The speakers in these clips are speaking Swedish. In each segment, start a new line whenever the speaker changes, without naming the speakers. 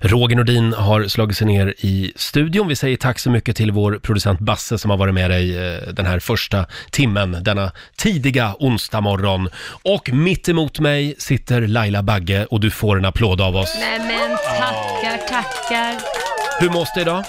Roger Nordin har slagit sig ner i studion. Vi säger tack så mycket till vår producent Basse som har varit med dig eh, den här första timmen, denna tidiga onsdag morgon. Och mitt emot mig sitter Laila Bagge och du får en applåd av oss.
Nej men tackar, tackar.
Hur mås det idag?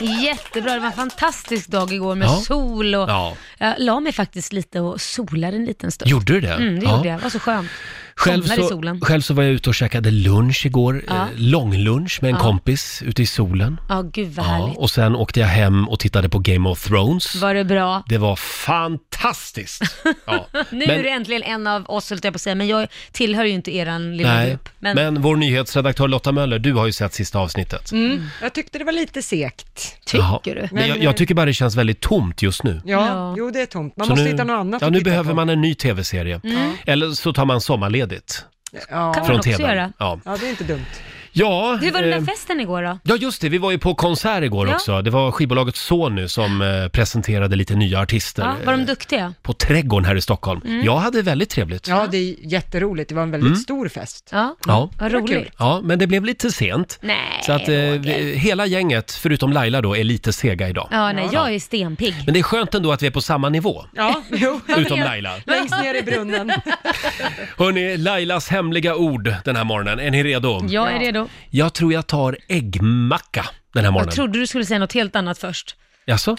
Jättebra, det var en fantastisk dag igår med
Ja.
sol och...
Ja.
Jag la mig faktiskt lite och solade en liten stund.
Gjorde du det?
Mm, det
Ja.
gjorde jag. Det var så skönt.
Själv
Somnade i
så,
solen.
själv så var jag ute och käkade lunch igår,
Ja.
eh, långlunch med en
Ja.
kompis ute i solen.
Ja, gud vad
Ja,
härligt.
och sen åkte jag hem och tittade på Game of Thrones.
Var det bra?
Det var fantastiskt! Ja.
Nu
Men-
är du äntligen en av oss, höll jag på att säga, men jag tillhör ju inte eran lilla
Nej,
grupp.
men... vår nyhetsredaktör Lotta Möller, du har ju sett sista avsnittet.
Mm. Jag tyckte det var lite segt.
tycker
Jaha.
du?
Men jag, jag tycker bara det känns väldigt tomt just nu.
Ja,
Ja.
jo det är tomt. Man
Så
måste
nu-
hitta något annat
Ja,
att
nu
titta
behöver
på.
man en ny tv-serie. Eller så tar man sommarledigt
Kan
Ja.
Mm. man
från
också
tvn.
göra.
Ja.
ja, det är inte dumt.
Ja,
Hur var den
eh,
där festen igår då?
Ja just det, vi var ju på konsert igår
Ja.
också. Det var skivbolaget Sony som eh, presenterade lite nya artister
Ja, var de Mm.
eh,
duktiga?
på Trädgården här i Stockholm. Jag hade väldigt trevligt. Ja.
Ja, det är jätteroligt. Det var en väldigt
Mm.
stor fest.
Ja,
Ja.
vad
Det var kul.
roligt.
men det blev lite sent.
Nej,
så att eh,
Roger.
vi, hela gänget, förutom Laila då, är lite sega idag.
Ja, nej, jag är stenpigg.
Men det är skönt ändå att vi är på samma nivå.
Ja, jo.
Utom Laila.
Längst ner i brunnen.
Hörni, Lailas hemliga ord den här morgonen. Är ni redo?
Jag är redo.
Jag tror jag tar äggmacka den här
Jag
morgonen.
trodde du skulle säga något helt annat först.
Jaså?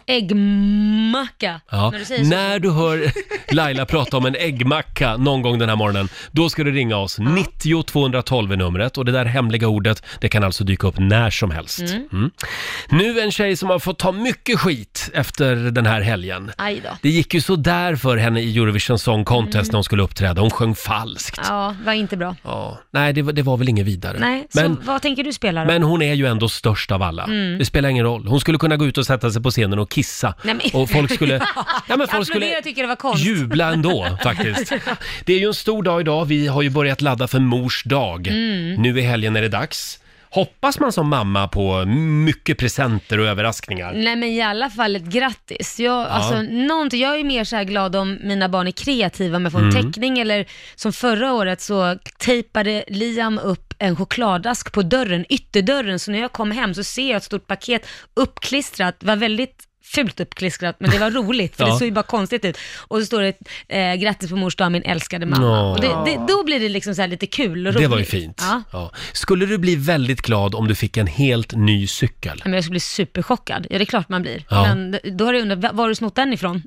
Äggmacka.
Ja.
När du säger så.
När du hör Laila prata om en äggmacka någon gång den här morgonen, då ska du ringa oss. 90 212 är numret och det där hemliga ordet, det kan alltså dyka upp när som helst. Mm. Nu en tjej som har fått ta mycket skit efter den här helgen.
Aj då. Mm.
Det gick ju så där för henne i Eurovision Song Contest när hon skulle uppträda. Hon sjöng falskt.
Ja, var inte bra.
Ja. Nej, det var, det var väl inget vidare.
Nej,
Men-
så vad tänker du spela då?
Men hon är ju ändå störst av alla. Det spelar ingen roll. Hon skulle kunna gå ut och sätta sig på scenen och kissa.
Nej, men-
Och folk skulle... Ja, men folk
Applådera
skulle
tycker det var konst.
jubla ändå faktiskt. Det är ju en stor dag idag. Vi har ju börjat ladda för mors dag.
Mm.
Nu i helgen är det dags. Hoppas man som mamma på mycket presenter och överraskningar.
Nej men i alla fall ett grattis. Jag, alltså, någonting, jag är mer så här glad om mina barn är kreativa om jag får en
Mm.
teckning eller som förra året så tejpade Liam upp en chokladask på dörren, ytterdörren, så när jag kom hem så ser jag ett stort paket uppklistrat, var väldigt fult uppklistrat men det var roligt för
Ja.
det såg ju bara konstigt ut. Och så står det eh, grattis på mors dag min älskade mamma.
Ja.
Och det, det, då blir det liksom så här lite kul och roligt.
Det var ju fint.
Ja.
Ja. Skulle du bli väldigt glad om du fick en helt ny cykel?
Men jag skulle bli superchockad. Ja, det är klart man blir.
Ja.
Men då har jag undrat, va- var har du snott den ifrån?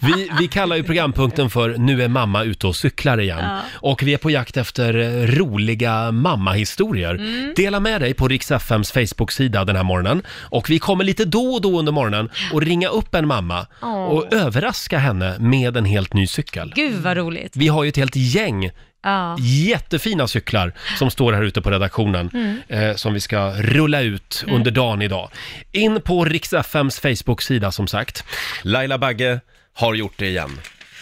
Vi, vi kallar ju programpunkten för Nu är mamma ute och cyklar igen. Och vi är på jakt efter eh, roliga mammahistorier.
Mm.
Dela med dig på Rix FMs Facebook-sida den här morgonen. Och vi kommer lite då och då under morgonen och ringa upp en mamma
Åh.
och överraska henne med en helt ny cykel.
Gud vad roligt.
Vi har ju ett helt gäng
Ja.
jättefina cyklar som står här ute på redaktionen
Mm.
eh, som vi ska rulla ut under dagen idag. In på Rix FMs Facebook-sida som sagt. Laila Bagge har gjort det igen.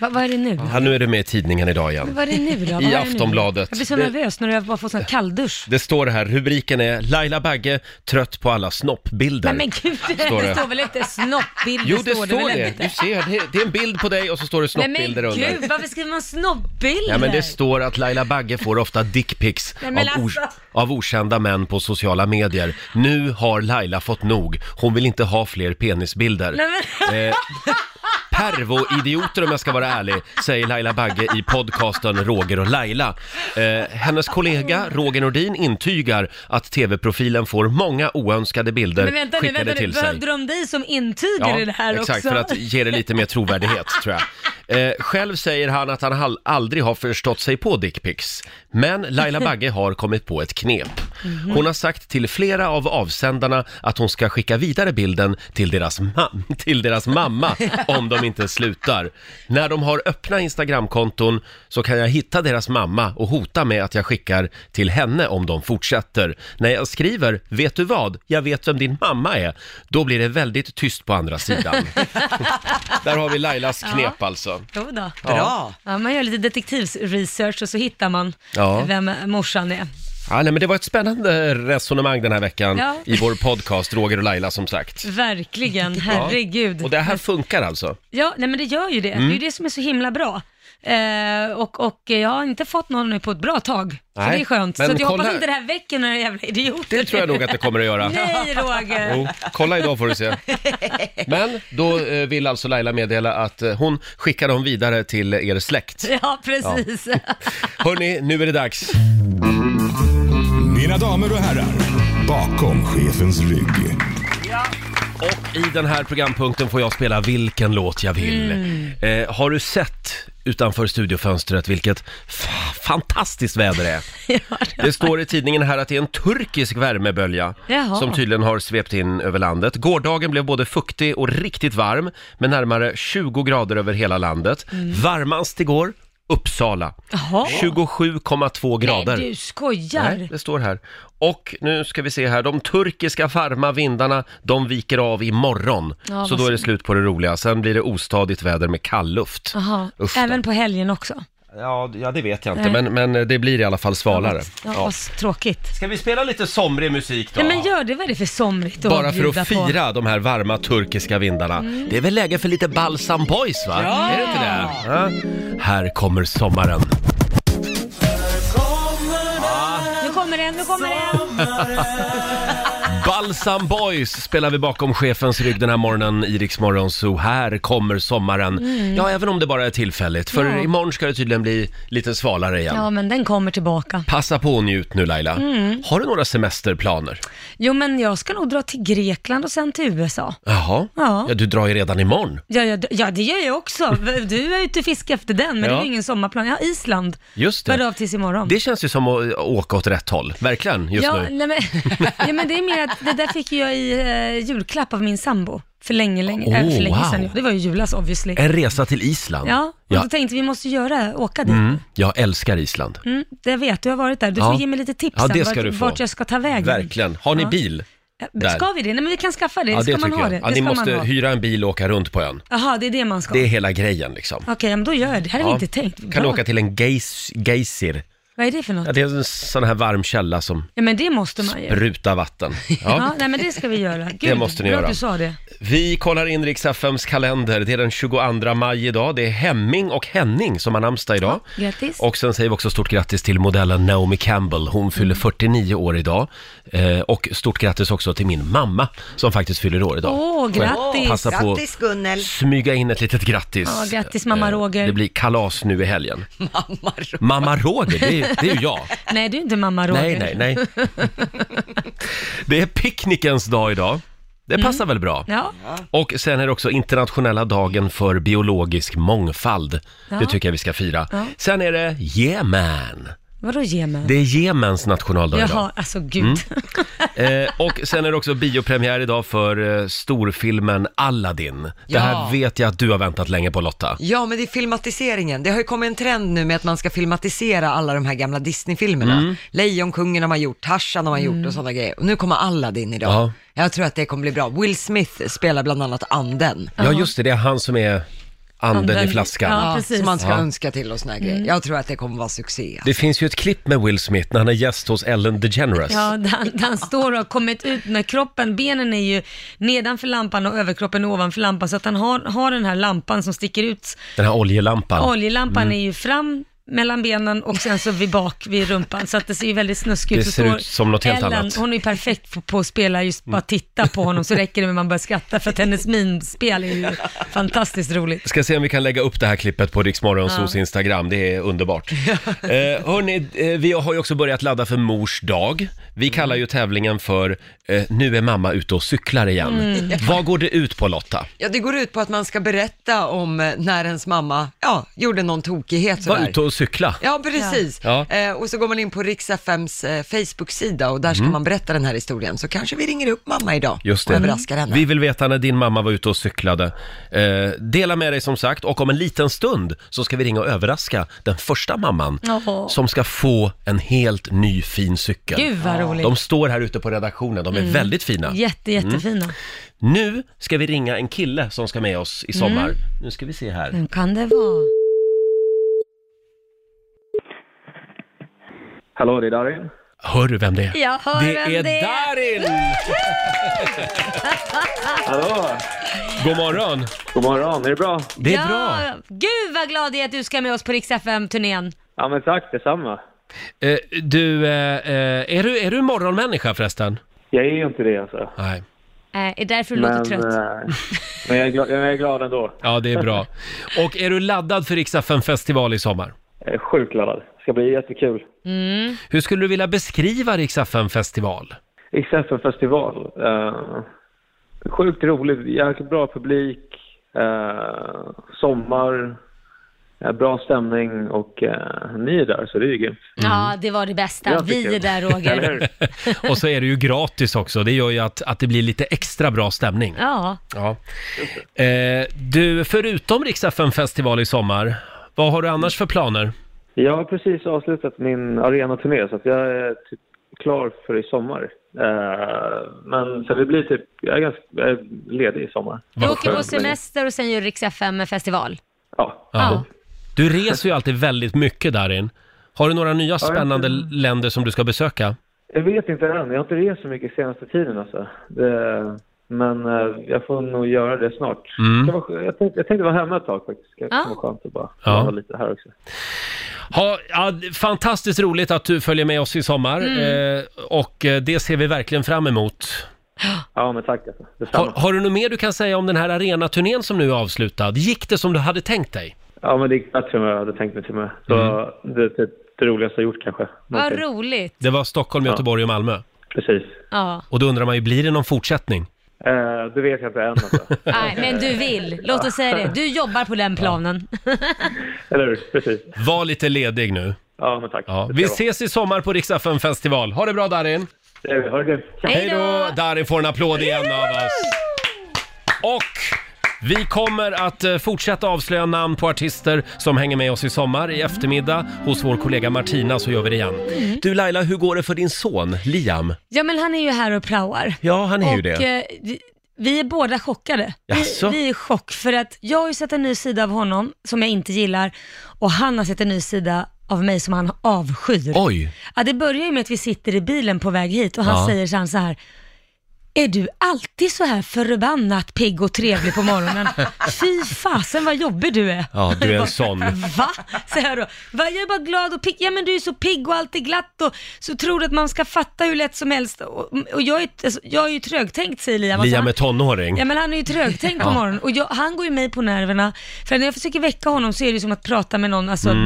Va, vad är det nu?
Ja, nu är du med i tidningen idag igen.
Vad är det nu då? Vad
I
är det nu?
Aftonbladet.
Jag blir så
Det-
nervös när jag bara får sån kalldusch.
Det står här, rubriken är Laila Bagge trött på alla snoppbilder.
Nej men gud, det
Står
står,
det.
väl inte snoppbilder?
jo, det
väl
står det.
inte?
Du ser, det, det är en bild på dig och så står det
Nej men
snoppbilder under.
gud, varför skriver man snoppbilder?
Ja, men det står att Laila Bagge får ofta dickpics
Nej, men
av,
alltså.
or- av okända män på sociala medier. Nu har Laila fått nog. Hon vill inte ha fler penisbilder.
Nej, men,
Eh, Pervo-idioter om jag ska vara ärlig, säger Laila Bagge i podcasten Roger och Laila. Eh, hennes kollega Roger Nordin intygar att tv-profilen får många oönskade bilder
men vänta nu,
skickade
vänta nu.
till sig.
Behövde de dig som intygare i det här
exakt,
också?
för att ge det lite mer trovärdighet tror jag. Eh, själv säger han att han hal- aldrig har förstått sig på dickpics. Men Laila Bagge har kommit på ett knep. Hon har sagt till flera av avsändarna att hon ska skicka vidare bilden till deras, ma- till deras mamma om de inte slutar. När de har öppna Instagramkonton så kan jag hitta deras mamma och hota med att jag skickar till henne om de fortsätter. När jag skriver “Vet du vad? Jag vet vem din mamma är” då blir det väldigt tyst på andra sidan. Där har vi Lailas knep alltså.
Jo då.
Bra.
Ja, man gör lite detektivsresearch och så hittar man
Ja.
vem morsan är.
Ja, nej, men det var ett spännande resonemang den här veckan
Ja.
i vår podcast Roger och Laila som sagt.
Verkligen, herregud.
Och det här funkar alltså? Mm.
Ja, nej men det gör ju det. Det är ju det som är så himla bra. Eh, och, och jag har inte fått någon nu på ett bra tag. Så
Nej,
det är skönt. Så
men
att jag
kolla-
hoppas inte det här väcker några jävla idioter.
Det tror jag nog Oh. att det kommer att göra.
Nej, Roger.
Jo, kolla idag får du se. Men då eh, vill alltså Laila meddela att eh, hon skickar dem vidare till er släkt.
Ja, precis.
Hörni, nu är det dags.
Mina damer och herrar, bakom chefens rygg.
Och i den här programpunkten får jag spela vilken låt jag vill.
Mm.
Eh, har du sett utanför studiofönstret vilket fa- fantastiskt väder det är? Det står i tidningen här att det är en turkisk värmebölja
Jaha.
som tydligen har svept in över landet. Gårdagen blev både fuktig och riktigt varm med närmare 20 grader över hela landet.
Mm.
Varmast igår, Uppsala.
Jaha.
27,2 grader.
Nej, du skojar.
Nej, det står här. Och nu ska vi se här, de turkiska varma vindarna, de viker av imorgon.
Ja,
så
vad
då är det
synd.
slut på det roliga. Sen blir det ostadigt väder med kall luft.
Jaha,
Usch då.
även på helgen också.
Ja, ja, det vet jag inte, men, men eh, det blir i alla fall svalare.
Ja,
Ja.
Vad s- tråkigt.
Ska vi spela lite somrig musik då?
Nej, men gör det, vad är det för somrigt att
Bara för
bjuda Mm.
att fira de här varma turkiska vindarna. Det är väl läge för lite Balsam Boys va? Är det inte det? Ja. Här kommer sommaren.
På. Nu kommer den, nu kommer den.
Balsam Boys spelar vi bakom chefens rygg den här morgonen i Rix Morgon Zoo. Här kommer sommaren. Ja, även om det bara är tillfälligt. För
Mm. Ja.
imorgon ska det tydligen bli lite svalare igen.
Ja, Mm. men den kommer tillbaka.
Passa på och njut nu Laila. Har du några semesterplaner?
Jo, men jag ska nog dra till Grekland och sen till USA.
Jaha, ja.
Ja.
du drar ju redan imorgon.
Ja, ja, ja det gör jag också. Du är ute och fiskar efter den, men det
Ja.
är ju ingen sommarplan. Ja, Island.
Just det.
Bär av tills imorgon.
Det känns ju som att åka åt rätt håll. Verkligen, just
ja,
nu.
nej, men, ja, men det är mer att det där fick jag i eh, julklapp av min sambo för länge, länge,
Oh,
äh, för länge
wow.
sedan. Ja, det var ju julas obviously.
En resa till Island.
Ja, och
ja.
då tänkte vi måste göra, åka dit.
Mm, jag älskar Island.
Mm, det vet, du har varit där. Du
Ja.
får ge mig lite tips
Ja,
sen
det ska
vart,
du få.
vart jag ska ta vägen.
Verkligen. Har ni
Ja.
bil?
Ja,
Där.
Ska vi det? Nej men vi kan skaffa det.
Ja,
ska
det
man
tycker
ha
jag.
det?
Ja,
det
ni
ska
måste
man ha.
hyra en bil och åka runt på ön.
Jaha, det är det man ska.
Det är hela grejen liksom.
Okej, men då gör jag det. Det här hade
Ja.
vi inte tänkt.
Kan du
Bra.
åka till en geis, geysir?
Vad är det för något?
Ja, det är en sån här varm källa som
Ja, men det måste man ju.
rutar vatten.
Ja.
Ja.
nej men det ska vi göra. Gud,
måste ni
bra
göra.
att du sa det.
Vi kollar in Rix FMs kalender. Det är den 22 maj idag. Det är Hemming och Henning som har namnsdag idag.
Ja, grattis.
Och sen säger vi också stort grattis till modellen Naomi Campbell. Hon fyller
Mm.
49 år idag. Eh, och stort grattis också till min mamma som faktiskt fyller år idag.
Åh,
Får jag
grattis.
Passa på
Grattis Gunnel!
att smyga in ett litet grattis.
Ja, grattis, mamma
Eh,
Roger.
Det blir kalas nu i helgen. Mamma Roger. Mamma Roger, det är, det är ju jag.
Nej, du är inte mamma Roger.
Nej, nej, nej. det är picknickens dag idag. Det passar
Mm.
väl bra?
Ja,
Och sen är det också internationella dagen för biologisk mångfald. Det
Ja.
tycker jag vi ska fira.
Ja.
Sen är det Yemen.
vadå ge mig?
Det Mm. är Jemens nationaldag
Jaha, alltså gud.
idag. Eh, och sen är det också biopremiär idag för eh, storfilmen Aladdin. Det
Ja.
här vet jag att du har väntat länge på Lotta.
Ja, men det är filmatiseringen. Det har ju kommit en trend nu med att man ska filmatisera alla de här gamla Disney-filmerna.
Mm.
Lejonkungen har man gjort, Tarzan har man gjort
Mm.
och sådana grejer. Och nu kommer Aladdin idag.
Ja.
Jag tror att det kommer bli bra. Will Smith spelar bland annat anden.
Ja, just det. Det är han som är anden,
Anden.
i flaskan.
Ja.
Ja,
precis.
som man ska
Ja.
önska till och såna
Mm.
här grejer. Jag tror att det kommer vara succé.
Det finns ju ett klipp med Will Smith när han är gäst hos Ellen DeGeneres.
Ja, där han, där han står och har kommit ut med kroppen, benen är ju nedanför lampan och överkroppen är ovanför lampan, så att han har, har den här lampan som sticker ut.
Den här oljelampan.
Oljelampan
Mm.
är ju fram mellan benen och sen så vid bak vid rumpan, så att det ser ju väldigt snuskigt
Det
Så
ser
står
ut som något helt
Ellen,
annat. Mm.
Hon är ju perfekt på, på att spela, just bara titta på honom så räcker det med att man börjar skratta, för att hennes minspel är ju fantastiskt roligt.
Ska se om vi kan lägga upp det här klippet på Riksmorgonsos Instagram, det är underbart. eh, hörni, eh, vi har ju också börjat ladda för mors dag.
Mm.
Vi kallar ju tävlingen för eh, Nu är mamma ute och cyklar igen.
Mm.
Vad går det ut på Lotta?
Ja, det går ut på att man ska berätta om eh, när ens mamma, ja, gjorde någon tokighet
Var
sådär.
ute och cykla.
Ja, precis.
Ja.
Eh, och så går man in på Rix FMs eh, Facebook-sida och där ska man berätta den här historien. Så kanske vi ringer upp mamma idag
Just
och
det.
överraskar henne.
Vi vill veta när din mamma var ute och cyklade. Eh, dela med dig som sagt och om en liten stund så ska vi ringa och överraska den första mamman
Åh.
som ska få en helt ny fin cykel.
Gud vad roligt. Mm.
De står här ute på redaktionen, de är väldigt fina.
Jätte,
Mm.
jättefina.
Nu ska vi ringa en kille som ska med oss i sommar.
Mm.
Nu ska vi se här.
Vem kan det vara?
Hallå, det är Darin.
Hör du vem det är?
Jag hör
det
vem
är
det är.
Darin!
Hallå!
God morgon!
God morgon, är det bra?
Det är
ja,
bra!
Gud vad glad jag är att du ska med oss på Rix FM-turnén.
Ja men tack detsamma.
Eh, du, eh, eh, är du, är du morgonmänniska förresten?
Jag är ju inte det alltså.
Nej.
Äh, är därför du
Men,
låter trött.
eh, men jag, är glad, jag är glad ändå.
Ja, det är bra. Och är du laddad för Rix festival i sommar?
Jag är sjukt laddad. Det ska bli jättekul.
Hur skulle du vilja beskriva Rix festival?
XFN festival. eh, sjukt roligt, jäkligt bra publik, eh, sommar, eh, bra stämning och eh, ni är där så det är ju grymt.
Ja,
Mm.
det var det bästa.
Jag
Vi
tycker-
är där
Eller
Roger.
hur?
Och så är det ju gratis också, det gör ju att, att det blir lite extra bra stämning.
Ja.
Ja. Eh, du, förutom Rix festival i sommar, vad har du annars för planer?
Jag har precis avslutat min arenaturné så att jag är typ klar för i sommar. Eh, men så det blir typ, jag är ganska jag är ledig i sommar.
Du
Vad
åker på
skönt.
semester och sen gör Rix FM-festival.
Ja.
Ja. Du reser ju alltid väldigt mycket Darin. Har du några nya spännande
inte-
länder som du ska besöka?
Jag vet inte än, jag har inte rest så mycket senaste tiden alltså. Det, men eh, jag får nog göra det snart.
Mm.
Det var, skö- jag, tänkte, jag tänkte vara hemma ett tag faktiskt. Det
Ja.
kan vara skönt att bara
Ja.
vara lite här också.
Ha, ja, fantastiskt roligt att du följer med oss i sommar
Mm.
eh, och eh, det ser vi verkligen fram emot.
Ja men tack alltså. Detsamma.
Har, har du något mer du kan säga om den här arenaturnén som nu är avslutad? Gick det som du hade tänkt dig?
Ja men det gick bättre än vad jag hade tänkt mig till och med. Så
Mm.
det är typ det roligaste jag gjort kanske.
Vad
Någonting.
roligt.
Det var Stockholm, Göteborg och Malmö.
Precis.
Ja.
Och då undrar man ju, blir det någon fortsättning?
Eh, det vet jag inte än alltså.
Nej, men du vill. Låt oss säga det. Du jobbar på den planen.
Eller hur? Precis.
Var lite ledig nu.
Ja, men tack.
Ja.
Det
Vi
ska
ses i sommar på Rix FM festival. Ha det bra Darin!
jag vara. Eh, Ha det grymt.
Hej då! Darin får en applåd igen av oss. Och vi kommer att eh, fortsätta avslöja namn på artister som hänger med oss i sommar. I eftermiddag hos vår kollega Martina så gör vi det igen.
Mm.
Du Laila, hur går det för din son Liam?
Ja, men han är ju här och praoar.
Ja, han är
och,
ju det.
eh, vi- Vi är båda chockade.
Jaså?
Vi, vi är i chock för att jag har ju sett en ny sida av honom som jag inte gillar och han har sett en ny sida av mig som han avskyr.
Oj!
Ja, det börjar ju med att vi sitter i bilen på väg hit och han
Ja.
säger sen så här är du alltid så här förbannat pigg och trevlig på morgonen? Fy fasen vad jobbig du är.
Ja, du är en sån.
Va? Säger jag då. Va, jag är bara glad och pigg. Ja men du är så pigg och alltid glatt och så tror du att man ska fatta hur lätt som helst. Och, och jag, är, alltså, jag är ju trögtänkt säger Liam. Alltså,
Liam
han-
är tonåring.
Ja men han är ju trögtänkt på morgonen och jag, han går ju mig på nerverna. För när jag försöker väcka honom så är det ju som att prata med någon, alltså
Mm.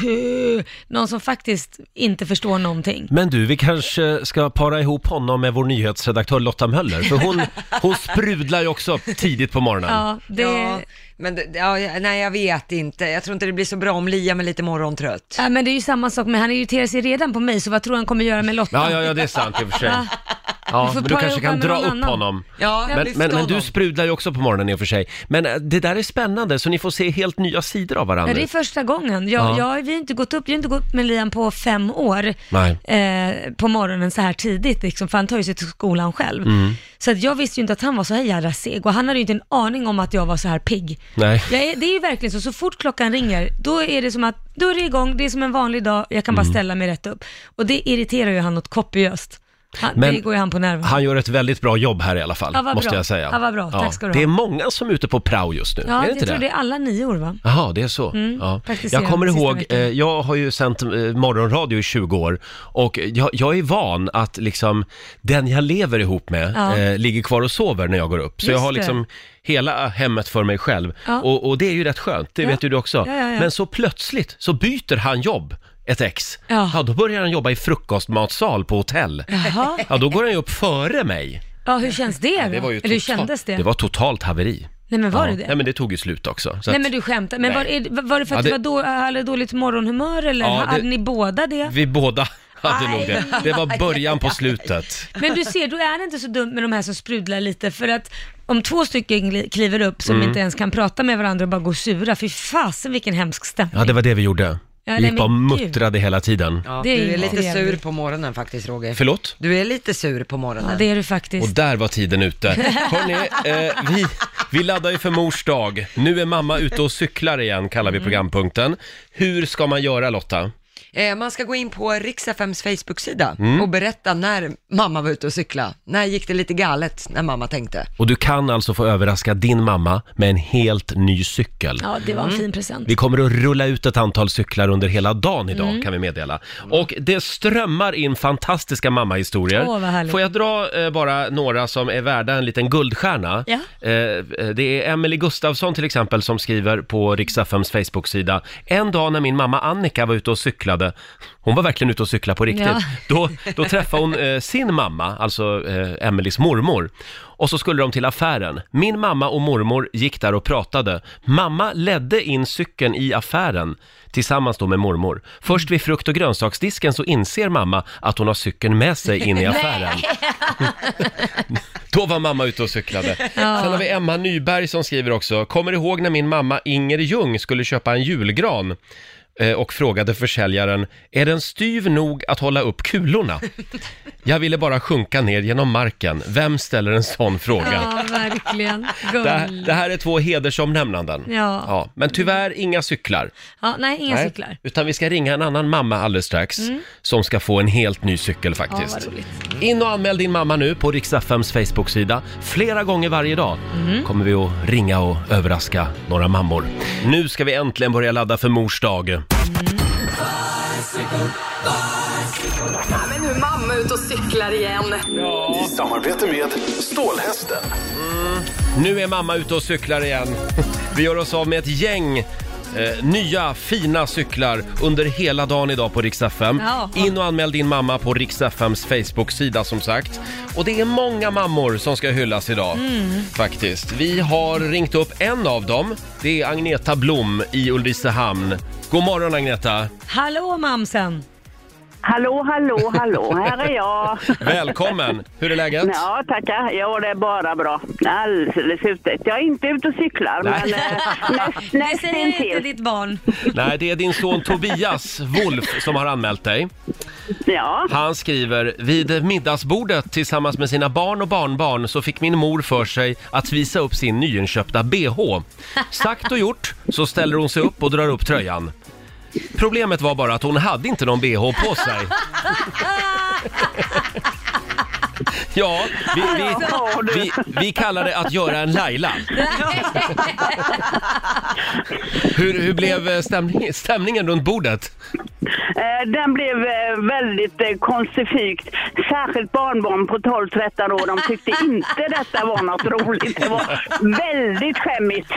"Buh, någon som faktiskt inte förstår någonting.
Men du, vi kanske ska para ihop honom med vår nyhetsredaktör Lotta Möller, för hon, hon sprudlar ju också tidigt på morgonen.
Ja, det...
Ja,
Ja.
men det- ja, jag- nej jag vet inte. Jag tror inte det blir så bra om Liam är lite morgontrött.
men det är ju samma sak, men han irriterar sig redan på mig, så vad tror han kommer göra med Lotta?
Ja, ja, ja, det är sant i och för sig.
Va?
Ja,
Ah. Du får
men du
para
kanske
ihop
kan
med
dra
någon
upp
annan.
honom.
Ja,
Men,
lyft
men, men
honom.
du sprudlar ju också på morgonen i och för sig. Men eh, det där är spännande, så ni får se helt nya sidor av
Ja,
varandra.
det är första gången. Jag,
Ja.
jag, vi har inte gått upp, jag har inte gått upp med Liam på fem år
Nej.
eh, på morgonen så här tidigt, liksom, för han tar ju sig till skolan själv.
Mm.
Så att jag visste ju inte att han var så här jävla seg och han hade ju inte en aning om att jag var så här pigg.
Nej.
Jag är, det är ju verkligen så, så fort klockan ringer, då är det som att, då är det igång, det är som en vanlig dag, jag kan
Mm.
bara ställa mig rätt upp. Och det irriterar ju han något kopiöst. Han,
Men
det går ju han på nerven.
Han gör ett väldigt bra jobb här i alla fall,
Ja, vad
måste
bra.
jag säga.
Ja, vad bra. Tack ska du ha.
Det är många som är ute på prao just nu,
ja,
är det
jag
inte
tror det är alla nior va?
Jaha, det är så. ja.
praktiserade
Jag kommer
Mm, sista
ihåg, eh,
veckan.
jag har ju sänt eh, morgonradio i 20 år och jag, jag är van att liksom den jag lever ihop med
Ja.
eh, ligger kvar och sover när jag går upp. Så jag
Just
har
det.
liksom hela hemmet för mig själv
Ja.
och, och det är ju rätt skönt, det
Ja.
vet ju du också.
Ja, ja, ja.
Men så plötsligt så byter han jobb, ett ex. Ja.
Ja.
då börjar han jobba i frukostmatsal på hotell.
Jaha,
Ja, då går han ju upp före mig.
ja hur känns det? då? Eller hur
totalt-
kändes det?
Det var totalt haveri.
Nej men var det det?
Nej, men det tog ju slut också. Så
Nej
att-
men du skämtar, men var,
Nej.
är, var det för att
Ja,
du
det-
var då, hade dåligt morgonhumör eller
Ja, det-
hade ni båda det?
Vi båda hade nog det. Det var början på slutet.
Men du ser, då är det inte så dumt med de här som sprudlar lite för att om två stycken gli- kliver upp
Mm.
som inte ens kan prata med varandra och bara går sura, fy fasen vilken hemsk stämning.
Ja, det var det vi gjorde.
Ja,
vi
nej,
gick bara och
men gud.
muttrade hela tiden.
Ja,
det är
du
ju
är lite
trevligt.
sur på morgonen faktiskt Roger.
Förlåt?
Du är lite sur på morgonen.
Ja, det är du
Och
faktiskt.
där var tiden ute. Hörrni, eh, vi, vi laddar ju för mors
Mm.
dag. Nu är mamma ute och cyklar igen, kallar vi programpunkten. Hur ska man göra Lotta?
Eh, man ska gå in på Riks-FMs Facebook-sida och berätta när mamma var ute och cykla. När gick det lite galet när mamma tänkte?
Och du kan alltså få överraska din mamma med en helt ny cykel.
Ja, det var en
Mm.
fin present.
Vi kommer att rulla ut ett antal cyklar under hela dagen idag
Mm.
kan vi meddela. Och det strömmar in fantastiska mammahistorier.
Åh, vad härligt.
Får jag dra eh, bara några som är värda en liten guldstjärna?
Ja.
Eh, eh, det är Emily Gustafsson till exempel som skriver på Riks-FMs Facebook-sida. En dag när min mamma Annika var ute och cyklade, hon var verkligen ute och cyklade på riktigt,
Ja.
då, då träffade hon eh, sin mamma, alltså eh, Emelies mormor. Och så skulle de till affären. Min mamma och mormor gick där och pratade. Mamma ledde in cykeln i affären tillsammans då med mormor. Först vid frukt och grönsaksdisken så inser mamma att hon har cykeln med sig in i affären. Då var mamma ute och cyklade. Sen har vi Emma Nyberg som skriver också. Kommer ihåg när min mamma Inger Ljung skulle köpa en julgran eh, och frågade försäljaren, är den styv nog att hålla upp kulorna? Jag ville bara sjunka ner genom marken. Vem ställer en sån fråga?
Ja, verkligen.
Det,
Guld.
det här är två hedersomnämnanden.
Ja.
men tyvärr inga cyklar.
Ja, nej, inga
Nej,
cyklar. Mm.
Utan vi ska ringa en annan mamma alldeles strax som ska få en helt ny cykel
Ja,
faktiskt.
vad roligt.
In och anmäl din mamma nu på Riks-FMs Facebook-sida. Flera gånger varje dag kommer vi att ringa och överraska några mammor. Nu ska vi äntligen börja ladda för mors dag.
Ja, men nu är mamma ute och cyklar igen.
I samarbete med Stålhästen.
Nu är mamma ute och cyklar igen. Vi gör oss av med ett gäng eh, nya fina cyklar under hela dagen idag på Rix FM.
Ja.
In och anmäl din mamma på Rix FMs Facebook-sida som sagt. Och det är många mammor som ska hyllas idag faktiskt. Vi har ringt upp en av dem. Det är Agneta Blom i Ulricehamn. God morgon Agneta!
Hallå mamsen!
Hallå, hallå, hallå, här är jag.
Välkommen! Hur är läget?
Ja, tackar. Jo, det är bara bra. Alldeles utmärkt. Jag är inte ute och cyklar,
Nej.
men eh, näst,
Det
näst
säger inte
intill.
ditt barn.
Nej, det är din son Tobias Wolf som har anmält dig.
Ja,
Han skriver, vid middagsbordet tillsammans med sina barn och barnbarn så fick min mor för sig att visa upp sin nyinköpta bh. Sagt och gjort så ställer hon sig upp och drar upp tröjan. Problemet var bara att hon hade inte någon bh på sig. Ja, vi, vi, vi, vi kallar det att göra en Laila. Hur, hur blev eh, stämning, stämningen runt bordet?
eh, den blev eh, väldigt eh, konstifikt. Särskilt barnbarn på 12-13 år, de tyckte inte detta var något roligt. Det var väldigt skämmigt.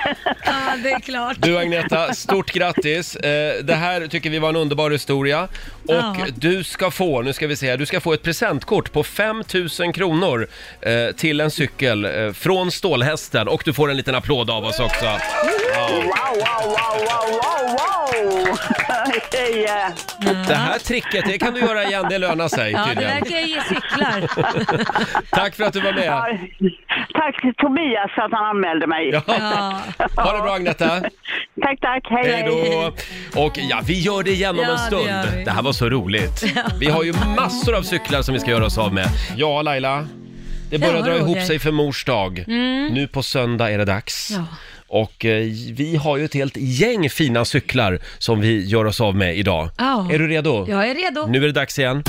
Ja, det är klart.
Du Agneta, stort grattis! Eh, Det här tycker vi var en underbar historia. Och
Ja.
du ska få, nu ska vi se här, du ska få ett presentkort på 5 000 kronor eh, till en cykel eh, från Stålhästen och du får en liten applåd av oss också.
Wow, wow, wow, wow, wow, wow! Det är, eh,
Det här tricket, det kan du göra igen, det lönar sig
Ja, det
tydligen.
verkar ju ge cyklar.
Tack för att du var med!
ja, Tack till Tobias för att han anmälde mig.
Ja.
Ja.
Ha det bra Agneta!
Tack, tack. Hej,
Hej då! Och ja, vi gör det igen om
Ja,
en
det
stund.
gör vi.
Det här var så roligt. Vi har ju massor av cyklar som vi ska göra oss av med. Ja, Laila. Det börjar
Ja,
dra ihop
Roger. Mm.
sig för mors dag. Nu på söndag är det dags.
Ja.
Och eh, vi har ju ett helt gäng fina cyklar som vi gör oss av med idag.
Ja.
Är du redo?
Jag är redo.
Nu är det dags igen.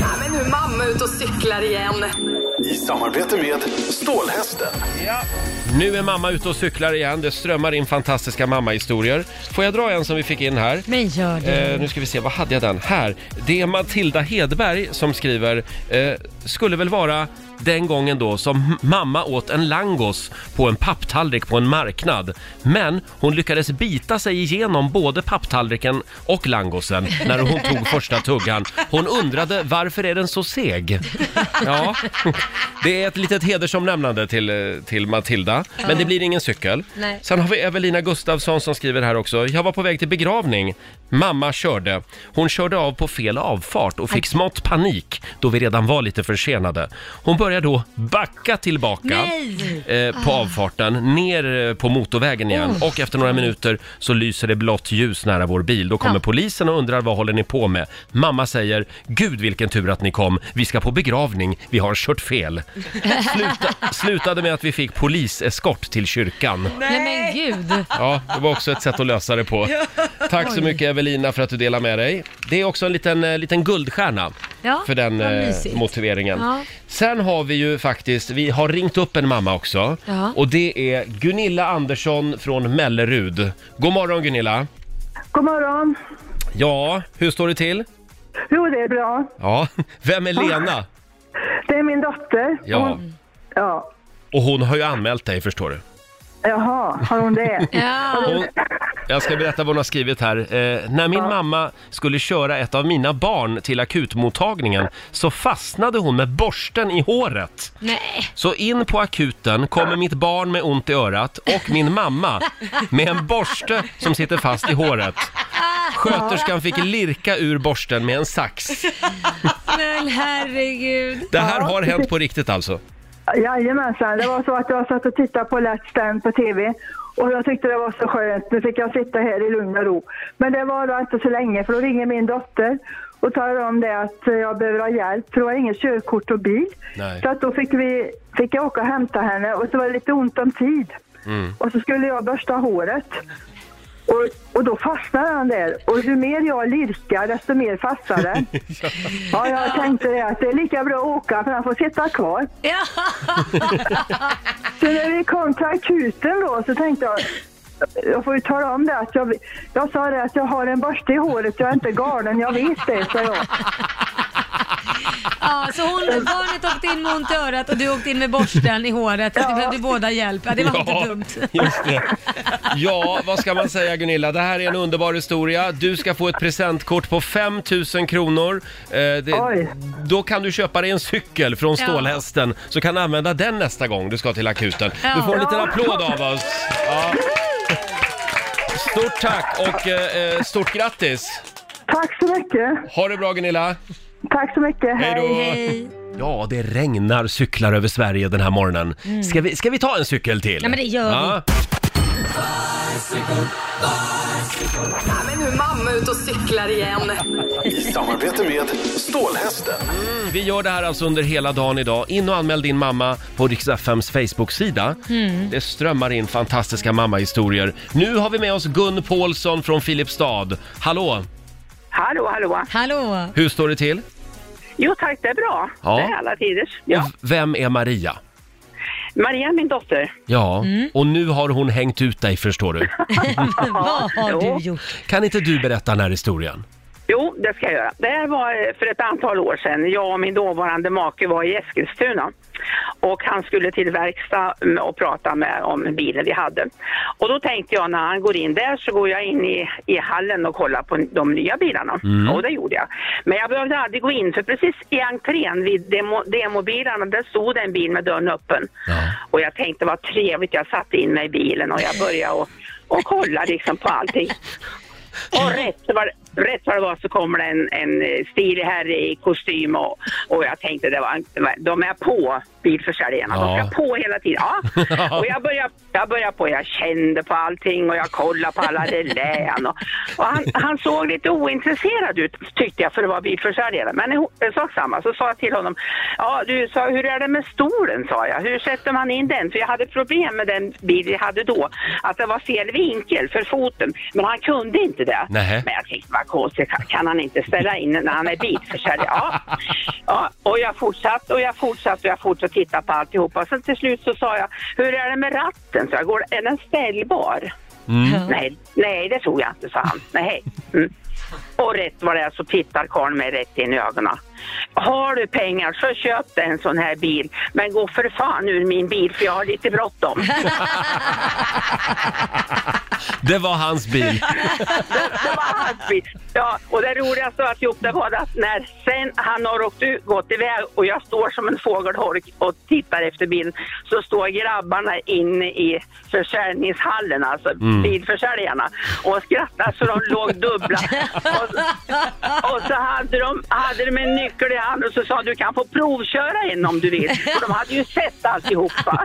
Ja, men nu är mamma ute och cyklar igen.
I samarbete med Stålhästen.
Nu är mamma ute och cyklar igen. Det strömmar in fantastiska mammahistorier. Får jag dra en som vi fick in här?
Men gör det.
Eh, nu ska vi se, vad hade jag den? Här. Det är Matilda Hedberg som skriver, eh, skulle väl vara den gången då som m- mamma åt en langos på en papptallrik på en marknad. Men hon lyckades bita sig igenom både papptallriken och langosen när hon tog första tuggan. Hon undrade varför är den så seg? Ja, det är ett litet hedersomnämnande till, eh, till Matilda. Men det blir ingen cykel.
Nej.
Sen har vi Evelina Gustafsson som skriver här också. Jag var på väg till begravning. Mamma körde. Hon körde av på fel avfart och fick smått panik då vi redan var lite för försenade. Hon börjar då backa tillbaka
Nej! Ah.
eh, på avfarten, ner eh, på motorvägen igen och efter några minuter så lyser det blått ljus nära vår bil. Då kommer
Ja.
polisen och undrar vad håller ni på med? Mamma säger, gud vilken tur att ni kom, vi ska på begravning, vi har kört fel. Sluta, slutade med att vi fick poliseskort till kyrkan.
Nej men gud.
Ja, det var också ett sätt att lösa det på. Tack så mycket Evelina för att du delar med dig. Det är också en liten, eh, liten guldstjärna
Ja,
för den
vad
eh,
mysigt.
motiveringen.
Ja.
Sen har vi ju faktiskt, vi har ringt upp en mamma också.
Ja.
Och det är Gunilla Andersson från Mellerud. God morgon Gunilla!
God morgon.
Ja, hur står det till?
Jo, det är bra.
Ja, vem är Lena?
Det är min dotter.
Ja,
Ja.
och hon har ju anmält dig förstår du.
Jaha, har hon det?
Ja.
Hon, jag ska berätta vad hon har skrivit här. Eh, när min mamma skulle köra ett av mina barn till akutmottagningen så fastnade hon med borsten i håret.
Nej.
Så in på akuten kommer mitt barn med ont i örat och min mamma med en borste som sitter fast i håret. Sköterskan fick lirka ur borsten med en sax.
Men herregud.
Det här har hänt på riktigt alltså.
Jajamensan, det var så att jag satt och tittade på Let's Dance på TV och jag tyckte det var så skönt. Nu fick jag sitta här i lugn och ro. Men det var då inte så länge för då ringer min dotter och talar om det att jag behöver ha hjälp för hon har inget körkort och bil.
Nej.
Så att då fick, vi, fick jag åka och hämta henne och så var det lite ont om tid. Och så skulle jag borsta håret. Och, och då fastnade han där. Och ju mer jag lirkar, desto mer fastnar den. ja, jag tänkte det att det är lika bra att åka för han får sitta kvar.
Ja.
Så när vi kom till akuten då så tänkte jag, jag får ju tala om det att jag, jag sa det att jag har en borste i håret, jag är inte galen, jag vet det, sa jag.
ja, så hon, barnet åkte in med ont i örat och du åkte in med borsten i håret. Ja. Det behövde båda hjälp. Ja, det var inte dumt.
just det. Ja, vad ska man säga Gunilla? Det här är en underbar historia. Du ska få ett presentkort på 5 000 kronor. Eh, det,
Oj.
då kan du köpa dig en cykel från
Ja.
Stålhästen, så kan du använda den nästa gång du ska till akuten.
Ja.
Du får en liten
Ja.
applåd av oss. Ja. Stort tack och eh, eh, stort grattis!
Tack så mycket,
Ha det bra Gunilla!
tack så mycket,
Hej då!
Hej.
Ja, det regnar cyklar över Sverige den här morgonen. Ska, vi, ska vi ta en cykel till?
Mm. Ja, men det gör
vi.
Nej, men nu är mamma ute och cyklar igen.
I samarbete med Stålhästen.
Vi gör det här alltså under hela dagen idag. In och anmäl din mamma på Riks-FMs Facebook-sida. Det strömmar in fantastiska mammahistorier. Nu har vi med oss Gun Paulsson från Filipstad. Hallå!
Hallå, hallå.
Hallå.
Hur står det till?
Jo tack, det är bra.
Ja. Mm. Det är
alla tiders.
Och vem är Maria?
Maria, min dotter.
Ja, och nu har hon hängt ut dig förstår du.
Vad har
Jo.
du gjort?
Kan inte du berätta den här historien?
Jo, det ska jag göra. Det här var eh, för ett antal år sedan. Jag och min dåvarande make var i Eskilstuna. Och han skulle till verkstad mm, och prata med, om bilen vi hade. Och då tänkte jag när han går in där så går jag in i, i hallen och kollar på de nya bilarna. Och det gjorde jag. Men jag behövde aldrig gå in för precis i entrén vid demo, demobilarna där stod en bil med dörren öppen.
Ja.
Och jag tänkte vad trevligt, jag satte in mig i bilen och jag började och, och kolla liksom på allting. Och rätt vad rätt vad det var så kommer det en, en eh, stilig herre i kostym och, och jag tänkte det var, de är på bilförsäljarna,
Ja.
de ska på hela tiden. Ja. Och jag började, jag började på, jag kände på allting och jag kollade på alla relän och, och han, han såg lite ointresserad ut tyckte jag för det var bilförsäljare. Men eh, sak samma, så sa jag till honom, ja du sa hur är det med stolen sa jag, hur sätter man in den? För jag hade problem med den bil jag hade då, att det var fel vinkel för foten. Men han kunde inte det.
Nähä.
Men jag tänkte vad konstigt, kan- kan han inte ställa in när han är bilförsäljare? Ja. ja. Och jag fortsatte och jag fortsatte och jag fortsatte titta på alltihopa. Sen till slut så sa jag, hur är det med ratten? Så jag, går, är den ställbar? Mm. Nej, nej, det tror jag inte, sa han. Nej. Mm. Och rätt vad det är så tittar karln mig rätt in i ögonen. Har du pengar så köp dig en sån här bil, men gå för fan ur min bil för jag har lite bråttom.
Det var hans bil.
Det var hans bil. Ja, och det roligaste av alltihop det var att när sen han har åkt ut, gått iväg och jag står som en fågelholk och tittar efter bilen så står grabbarna inne i försäljningshallen, alltså bilförsäljarna och skrattar så de låg dubbla. Och, och så hade de, hade de en nyckel i handen och så sa du kan få provköra en om du vill. För de hade ju sett alltihopa.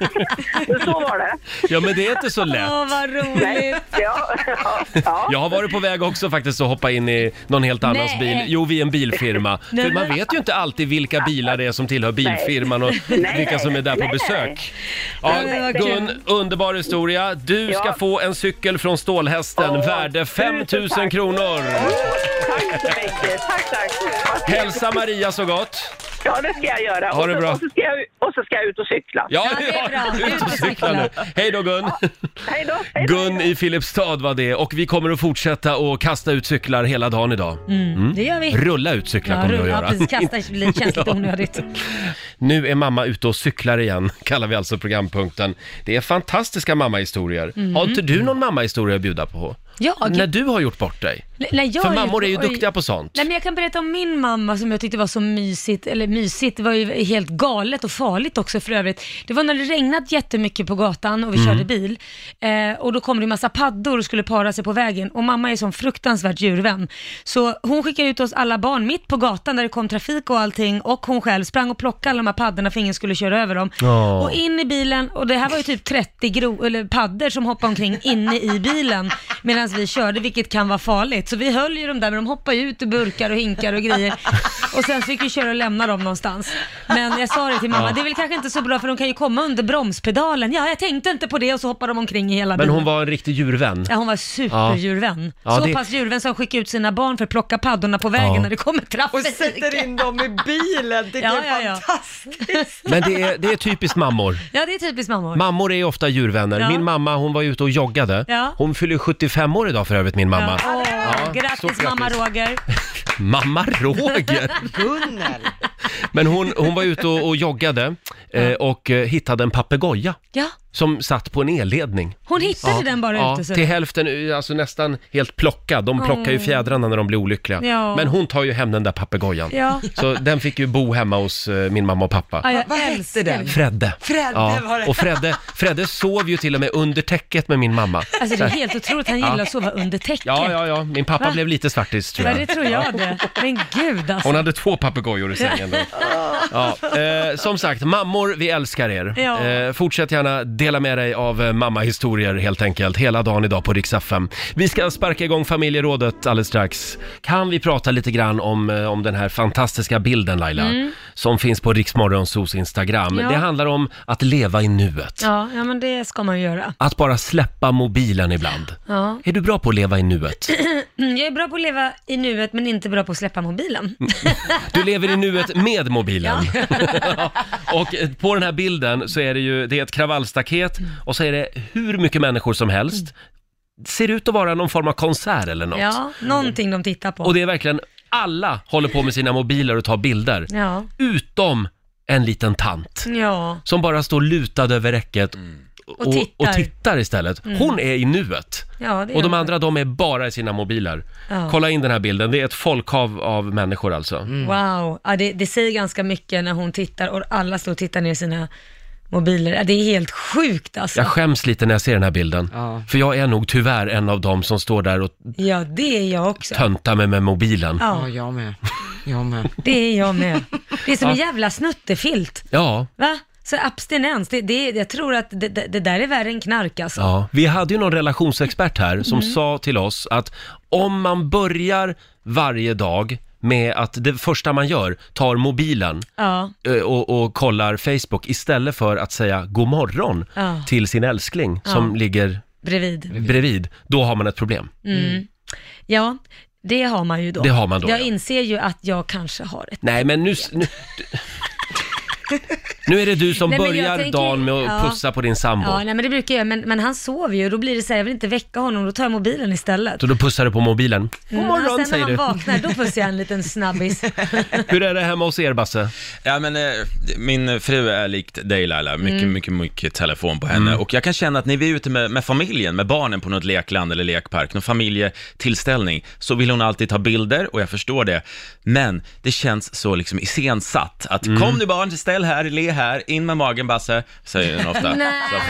Så var det.
Ja, men det är inte så lätt.
Åh, vad roligt.
Ja, ja, ja.
Jag har varit på väg också faktiskt att hoppa in i någon helt annans
Nej.
bil. Jo, vi är en bilfirma.
Nej,
För man
men-
vet ju inte alltid vilka bilar det är som tillhör bilfirman och
Nej,
vilka som är där på
nej.
besök. Ja,
Nej, men vad
Gun, underbar historia. Du ska
Ja.
få en cykel från Stålhästen,
Åh,
värde 5
tusen
000
tack.
kronor.
Tack så mycket. Tack, tack.
Hälsa Maria så gott.
Ja, det ska jag göra.
Ha
och,
det
så,
bra.
Och, så ska jag, och så ska jag ut och cykla.
Ja,
Ja, det är bra.
ut och cykla nu. Hej då Gun.
Hej då. Hej då.
Gun i Filipstad var det och vi kommer att fortsätta att kasta ut cyklar hela dagen idag.
Det gör vi.
Rulla ut cyklar Mm. kommer vi
rulla-
att göra.
precis. Kasta blir känsligt onödigt.
Nu är mamma ute och cyklar igen, kallar vi alltså programpunkten. Det är fantastiska mammahistorier.
Mm.
Har inte du någon mammahistoria att bjuda på?
Ja, gud.
När du har gjort bort dig?
N- när jag
För
gjort-
mammor är ju
oj.
duktiga på sånt.
Nej, men jag kan berätta om min mamma som jag tyckte var så mysigt, eller mysigt, det var ju helt galet och farligt också för övrigt. Det var när det regnat jättemycket på gatan
Mm.
och vi körde bil eh, och då kom det en massa paddor och skulle para sig på vägen och mamma är som fruktansvärt djurvän. Så hon skickade ut oss alla barn mitt på gatan där det kom trafik och allting och hon själv sprang och plockade alla de här paddorna för ingen skulle köra över dem.
Ja.
Och in i bilen och det här var ju typ 30 gro- eller paddor som hoppade omkring inne i bilen medan vi körde, vilket kan vara farligt. Så vi höll ju dem där, men de hoppade ju ut i burkar och hinkar och grejer. Och sen fick vi köra och lämna dem någonstans. Men jag sa det till mamma, det är väl kanske inte så bra för de kan ju komma under bromspedalen. Ja, jag tänkte inte på det och så hoppar de omkring i hela
Men
bilen.
hon var en riktig djurvän.
Ja, hon var superdjurvän.
Ja,
så
det-
pass djurvän som skickade ut sina barn för att plocka paddorna på vägen
Ja.
när det kommer
Och
trafik.
sätter in dem i bilen, det
Ja,
är
ja, ja.
fantastiskt.
Men det är, det är typiskt mammor.
Ja, det är typiskt mammor.
Mammor är ju ofta djurvänner.
Ja.
Min mamma hon var ute och joggade.
Ja.
Hon fyller 75 år idag för övrigt min mamma.
Ja. Åh,
stort
grattis mamma
grattis.
Roger.
Mamma Roger!
Gunnel.
Men hon, hon var ute och, och joggade eh, och eh, hittade en papegoja
Ja,
som satt på en elledning.
hon hittade den bara
Mm. Ja,
ute. Så. Mm.
till hälften, alltså nästan helt plockad. De plockar ju fjädrarna när de blir olyckliga.
Ja.
Men hon tar ju hem den där papegojan.
Ja.
Så den fick ju bo hemma hos eh, min mamma och pappa.
Ja, jag
Vad hette
älskar
den?
det.
Fredde.
Fredde var det.
Och Fredde, Fredde sov ju till och med under täcket med min mamma.
Alltså det är helt otroligt, han gillar att sova under täcket.
Ja, ja, ja. Min pappa
Va?
blev lite svartis tror
Ja,
jag.
det tror jag det. Men gud alltså.
Hon hade två papegojor i sängen. Då. Ja, eh, som sagt, mammor, vi älskar er.
Ja.
Eh, fortsätt gärna dela med dig av eh, mammahistorier helt enkelt, hela dagen idag på Rix FM. Vi ska sparka igång familjerådet alldeles strax. Kan vi prata lite grann om, eh, om den här fantastiska bilden Laila, som finns på Rix Morgonzos Instagram.
Mm. Ja.
Det handlar om att leva i nuet.
Ja, ja, men det ska man göra.
Att bara släppa mobilen ibland.
Ja.
Är du bra på att leva i nuet?
Mm, Jag är bra på att leva i nuet men inte bra på att släppa mobilen.
Mm, Du lever i nuet med mobilen. och eh, på den här bilden så är det ju, det är ett kravallstaket
Mm.
och så är det hur mycket människor som helst. Ser ut att vara någon form av konsert eller något.
Ja, någonting de tittar på.
Och det är verkligen, alla håller på med sina mobiler och tar bilder.
Ja,
Utom en liten tant
ja.
som bara står lutad över räcket och, och,
tittar. Mm.
tittar istället. Hon är i nuet.
ja det
Och de
gör
andra, de är bara i sina mobiler.
Ja. Mm.
Kolla in den här bilden, det är ett folkhav av människor alltså.
det. Wow, ja, det, det säger ganska mycket när hon tittar och alla står och tittar ner i sina mobiler. Ja, det är helt sjukt alltså.
Jag skäms lite när jag ser den här bilden.
Ja.
För jag är nog tyvärr en av dem som står där och
Ja, det är jag också.
töntar mig med mobilen. Ja,
Ja,
Ja,
jag med. Jag med.
det är jag med. Det är som en jävla snuttefilt.
ja.
Va? Så abstinens, det, det, jag tror att det, det, det där är värre än knark alltså.
Vi hade ju någon relationsexpert här som
Mm.
sa till oss att om man börjar varje dag med att det första man gör tar mobilen
Ja.
eh, och, och kollar Facebook istället för att säga god morgon
Ja.
till sin älskling som ligger
bredvid. Mm.
bredvid, då har man ett problem.
Ja, det har man ju då.
Det har man då,
Jag
ja.
inser ju att jag kanske har ett.
Nej, men nu... s- nu Nu är det du som
Nej, men jag
börjar
tänker-
dagen med att
ja.
pussa på din sambo.
Ja, nej men det brukar jag göra, men, men han sover ju och då blir det så här, jag vill inte väcka honom, då tar jag mobilen istället.
Så då pussar du på mobilen. God
Mm, och
morgon
sen
säger
när han
du.
vaknar, då pussar jag en liten snabbis.
Hur är det hemma hos er Basse?
Ja, men, eh, min fru är likt dig Laila, mycket,
Mm.
mycket, mycket telefon på henne. Och jag kan känna att när vi är ute med, med familjen, med barnen på något lekland eller lekpark, någon familjetillställning, så vill hon alltid ta bilder och jag förstår det. Men det känns så liksom iscensatt att kom nu barn, ställ här, le här, in med magen Basse, säger hon ofta. sa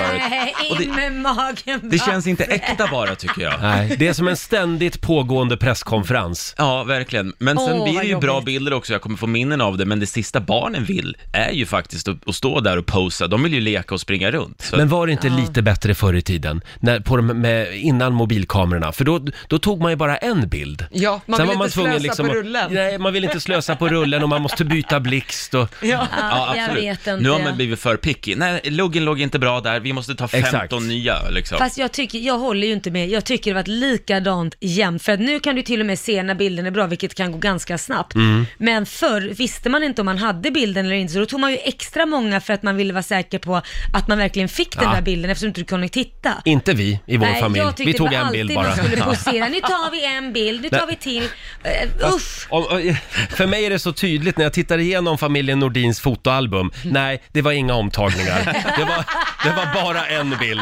förut.
Nej,
Och
in med magen
Det känns inte äkta bara tycker jag.
Nej, det är som en ständigt pågående presskonferens.
Ja, verkligen. Men sen
Åh,
blir
vad
det ju bra
jobbigt.
bilder också, jag kommer få minnen av det, men det sista barnen vill är ju faktiskt att, att stå där och posa. De vill ju leka och springa runt. Så.
Men var det inte lite bättre förr i tiden? När, på de, med, innan mobilkamerorna? För då, då tog man ju bara en bild.
Ja, man vill
Sen var man
inte
tvungen
slösa
liksom
på
att-
rullen.
Nej, man vill inte slösa på rullen och man måste byta blixt och...
Ja.
Ja, jag vet inte.
Nu har man blivit för picky. Nej, loggen låg inte bra där, vi måste ta 15
Exakt.
nya liksom.
Fast jag, tycker, jag håller ju inte med. Jag tycker det varit likadant jämt. För att nu kan du till och med se när bilden är bra, vilket kan gå ganska snabbt.
Mm.
Men förr visste man inte om man hade bilden eller inte, så då tog man ju extra många för att man ville vara säker på att man verkligen fick den
Ja.
där bilden eftersom du inte kunde titta.
Inte vi i vår
Nej,
familj.
jag tyckte
Vi tog
det var
en bild
alltid
bara.
Man skulle posera. Nu tar vi en bild, nu tar vi till. Uh, usch!
Om- om- För mig är det så tydligt när jag tittar igenom familjen Nordins fotoalbum.
Mm.
Nej, det var inga omtagningar. Det var, det var bara en bild.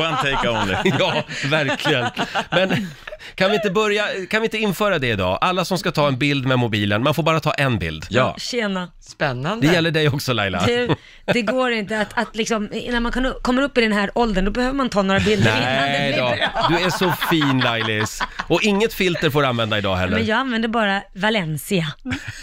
One take only.
Ja, verkligen. Men kan vi inte börja, kan vi inte införa det idag? Alla som ska ta en bild med mobilen, man får bara ta en bild.
Ja.
Tjena.
Spännande.
Det gäller dig också Laila.
Det, det går inte att, att liksom, när man kan, kommer upp i den här åldern, då behöver man ta några bilder innan det
Nej
blir
då,
bra.
du är så fin Lailis. Och inget filter får du använda idag
Men
heller.
jag använder bara Valencia.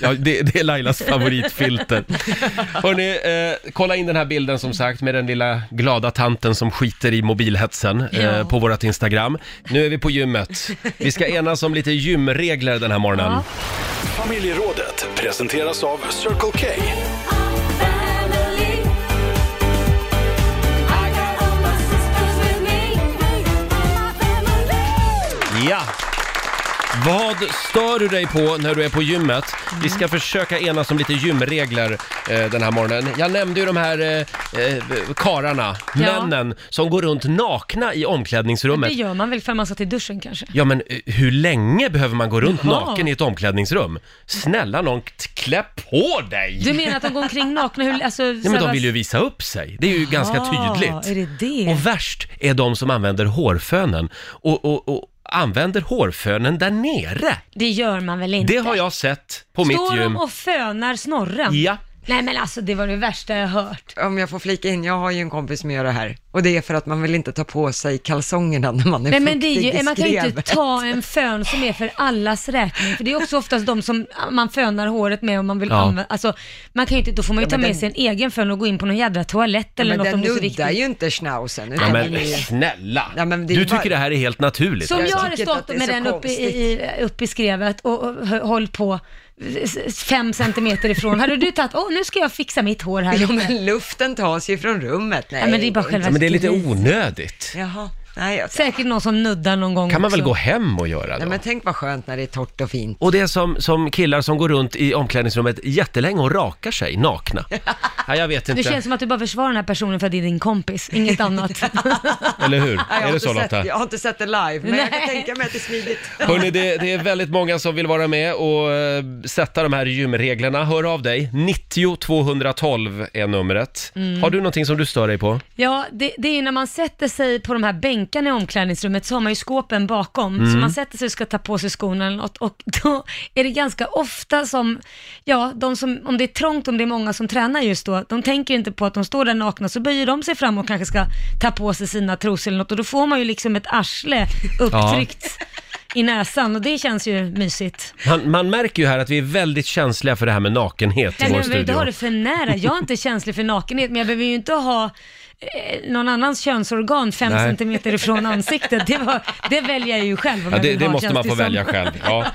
Ja, det, det är Lailas favoritfilter. Hörni, eh, kolla in den här bilden som sagt med den lilla glada tanten som skiter i mobilhetsen eh,
Ja.
på vårt Instagram. Nu är vi på gymmet. Vi ska enas om lite gymregler den här morgonen.
Ja.
Familjerådet presenteras av Circle K.
Ja! Vad stör du dig på när du är på gymmet? Vi
Mm.
ska försöka enas om lite gymregler eh, den här morgonen. Jag nämnde ju de här eh, eh, kararna,
Ja.
männen, som går runt nakna i omklädningsrummet.
Det gör man väl för man ska till duschen kanske?
Ja, men eh, hur länge behöver man gå runt
Jaha.
naken i ett omklädningsrum? Snälla någon, t- klä på dig!
Du menar att de går omkring nakna? Hur, alltså,
Nej, men de vill ju visa upp sig. Det är ju ganska tydligt.
Ah, Är det det?
Och värst är de som använder hårfönen och, och, och använder hårfönen där nere.
Det gör man väl inte?
Det har jag sett på mitt
Står de
gym.
och fönar snorren?
Ja.
Nej men alltså det var det värsta jag hört.
Om jag får flika in, jag har ju en kompis som gör det här. Och det är för att man vill inte ta på sig kalsongerna när man är
Nej
fuktig
men det är ju,
i
man kan ju inte
skrevet.
ta en fön som är för allas räkning, för det är också oftast de som ah, man fönar håret med om man vill
Ja.
använda, alltså man kan ju inte, då får man ju ta
men
med
den-
sig en egen fön och gå in på någon jädra toalett eller
Men
något
den
om det är så
nuddar
viktigt.
ju inte schnauzen.
Ja,
utan den
men
är ju-
snälla!
Ja, men det är
du
ju bara-
tycker det här är helt naturligt.
Som
Jag
jag hade
tycker
stått
inte att
med
det är
den
så
uppe i, i, uppe i skrevet och, och hö- hållit på s- fem centimeter ifrån, hade du tagit, åh nu ska jag fixa mitt hår här
Ja,
uppe."
men luften tas ju från rummet. Nej,
Ja, men det är bara själva
Ja, men det är lite onödigt.
Jaha. Nej, jag...
Säkert någon som nuddar någon gång
kan man väl
också.
gå hem och göra
Nej,
då?
men tänk vad skönt när det är torrt och fint.
Och det är som, som killar som går runt i omklädningsrummet jättelänge och rakar sig nakna. Ja, jag vet
Det
inte,
känns som att du bara försvarar den här personen för att det är din kompis, inget annat.
eller hur?
Nej, jag,
är
har
det
inte
så
sett,
Lotta?
jag har inte sett det live, men jag
Nej.
kan tänka mig att det är smidigt.
Hörrni, det, det är väldigt många som vill vara med och eh, sätta de här gymreglerna. Hör av dig, 90 212 är numret.
Mm.
Har du någonting som du stör dig på?
Ja, det, det är ju när man sätter sig på de här bänkarna i omklädningsrummet så har man ju skåpen bakom. Så man sätter sig och ska ta på sig skorna eller något och då är det ganska ofta som, ja, de som, om det är trångt, om det är många som tränar just då, de tänker inte på att de står där nakna, så böjer de sig fram och kanske ska ta på sig sina trosor eller något och då får man ju liksom ett arsle upptryckt i näsan och det känns ju mysigt.
Man, man märker ju här att vi är väldigt känsliga för det här med nakenhet
Nej,
i
men
vår
jag behöver inte
studio.
ha det för nära. Jag är inte känslig för nakenhet, men jag behöver ju inte ha eh, någon annans könsorgan fem
Nej.
centimeter ifrån ansiktet. Det, var, det väljer jag ju själv om
Ja,
jag
det,
vill
det
ha,
måste
känns
man få
det som.
välja själv. Ja.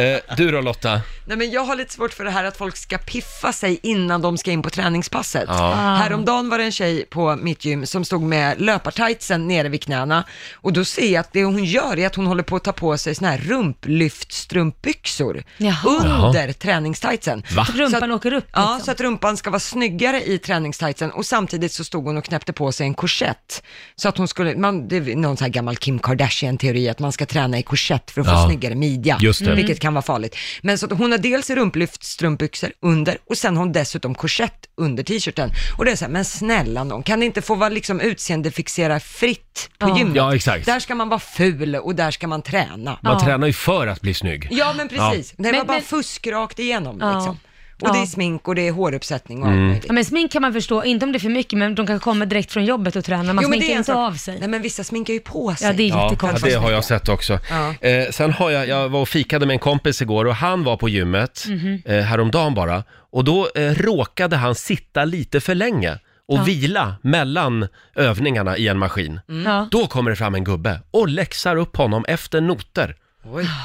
Eh, du då Lotta?
Nej, men jag har lite svårt för det här att folk ska piffa sig innan de ska in på träningspasset.
Ja. Ah.
Häromdagen var det en tjej på mitt gym som stod med löpartightsen nere vid knäna och då ser jag att det hon gör är att hon håller på att ta på sig såna här rumplyftstrumpbyxor
Jaha.
under träningstightsen.
Va? Så att rumpan åker upp? liksom.
Ja, så att rumpan ska vara snyggare i träningstightsen och samtidigt så stod hon och knäppte på sig en korsett. Så att hon skulle, man, det är någon sån här gammal Kim Kardashian-teori att man ska träna i korsett för att
Ja.
få snyggare midja. Mm.
Just det.
Vilket kan vara farligt. Men så att hon har dels rumplyftstrumpbyxor under och sen har hon dessutom korsett under t-shirten. Och det är så här, men snälla någon, kan det inte få vara liksom utseendefixera fritt på
Ja.
gymmet?
Ja, exakt.
Där ska man vara ful och där ska man träna.
Man tränar ju för att bli snygg.
Ja, men precis. Det var
Men-
bara
men-
fusk rakt igenom
Ja.
liksom. Och
Ja.
det är smink och det är håruppsättning och allt
Mm.
möjligt.
Ja, men smink kan man förstå, inte om det är för mycket, men de kan komma direkt från jobbet och träna. Man
Jo, men det
sminkar
är en
inte
sak.
av sig.
Nej men vissa sminkar ju på sig.
Ja, det är
Ja,
jättekonstigt.
det har jag sett också.
Ja.
Eh, sen har jag, jag var och fikade med en kompis igår och han var på gymmet
Mhm.
eh, häromdagen bara och då eh, råkade han sitta lite för länge och
Ja. Mm.
vila mellan övningarna i en maskin.
Mm.
Ja.
Då kommer det fram en gubbe och läxar upp honom efter noter.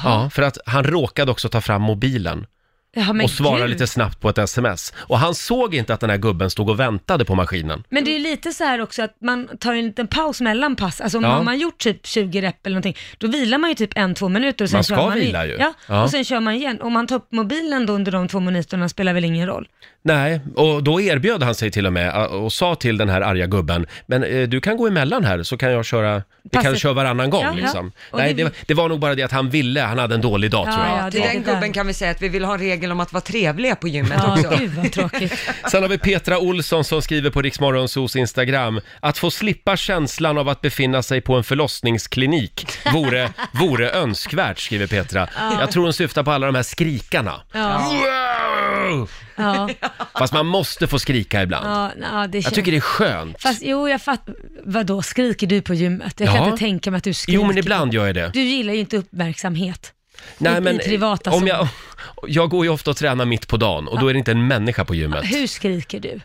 Ja, för att han råkade också ta fram mobilen
Ja, men
och svara
gud.
lite snabbt på ett sms. Och han såg inte att den här gubben stod och väntade på maskinen.
Men det är ju lite så här också att man tar en liten paus mellan pass. Alltså om
Ja.
man har gjort typ 20 rep eller någonting, då vilar man ju typ en, två minuter. Och sen
Man ska
kör man i-
vila ju.
Ja,
Ja.
och sen kör man igen. Om man tar upp mobilen då under de två minuterna spelar väl ingen roll.
Nej, och då erbjöd han sig till och med ä, och sa till den här arga gubben, men eh, du kan gå emellan här så kan jag köra, vi kan
Passet.
köra varannan gång
Ja, ja.
liksom.
Och
Nej,
det-
det, var- det var nog bara det att han ville, han hade en dålig dag tror jag.
Ja,
Till
det är
den
det där.
gubben kan vi säga att vi vill ha en regel om att vara trevliga på gymmet
Ja,
också.
gud vad tråkigt.
Sen har vi Petra Olsson som skriver på Riksmorgonsos Instagram, att få slippa känslan av att befinna sig på en förlossningsklinik vore, vore önskvärt, skriver Petra.
Ja.
Jag tror hon syftar på alla de här skrikarna.
Ja,
Wow!
ja,
Fast man måste få skrika ibland.
ja, ja det
Jag
känns...
tycker det är skönt.
Fast jo, jag fattar. Vadå, skriker du på gymmet? Jag kan
Ja.
inte tänka mig att du skriker.
Jo, men ibland gör jag det.
Du gillar ju inte uppmärksamhet. i- i privata
om
zoner.
jag, jag går ju ofta och tränar mitt på dagen och då är det inte en människa på gymmet.
Hur skriker du?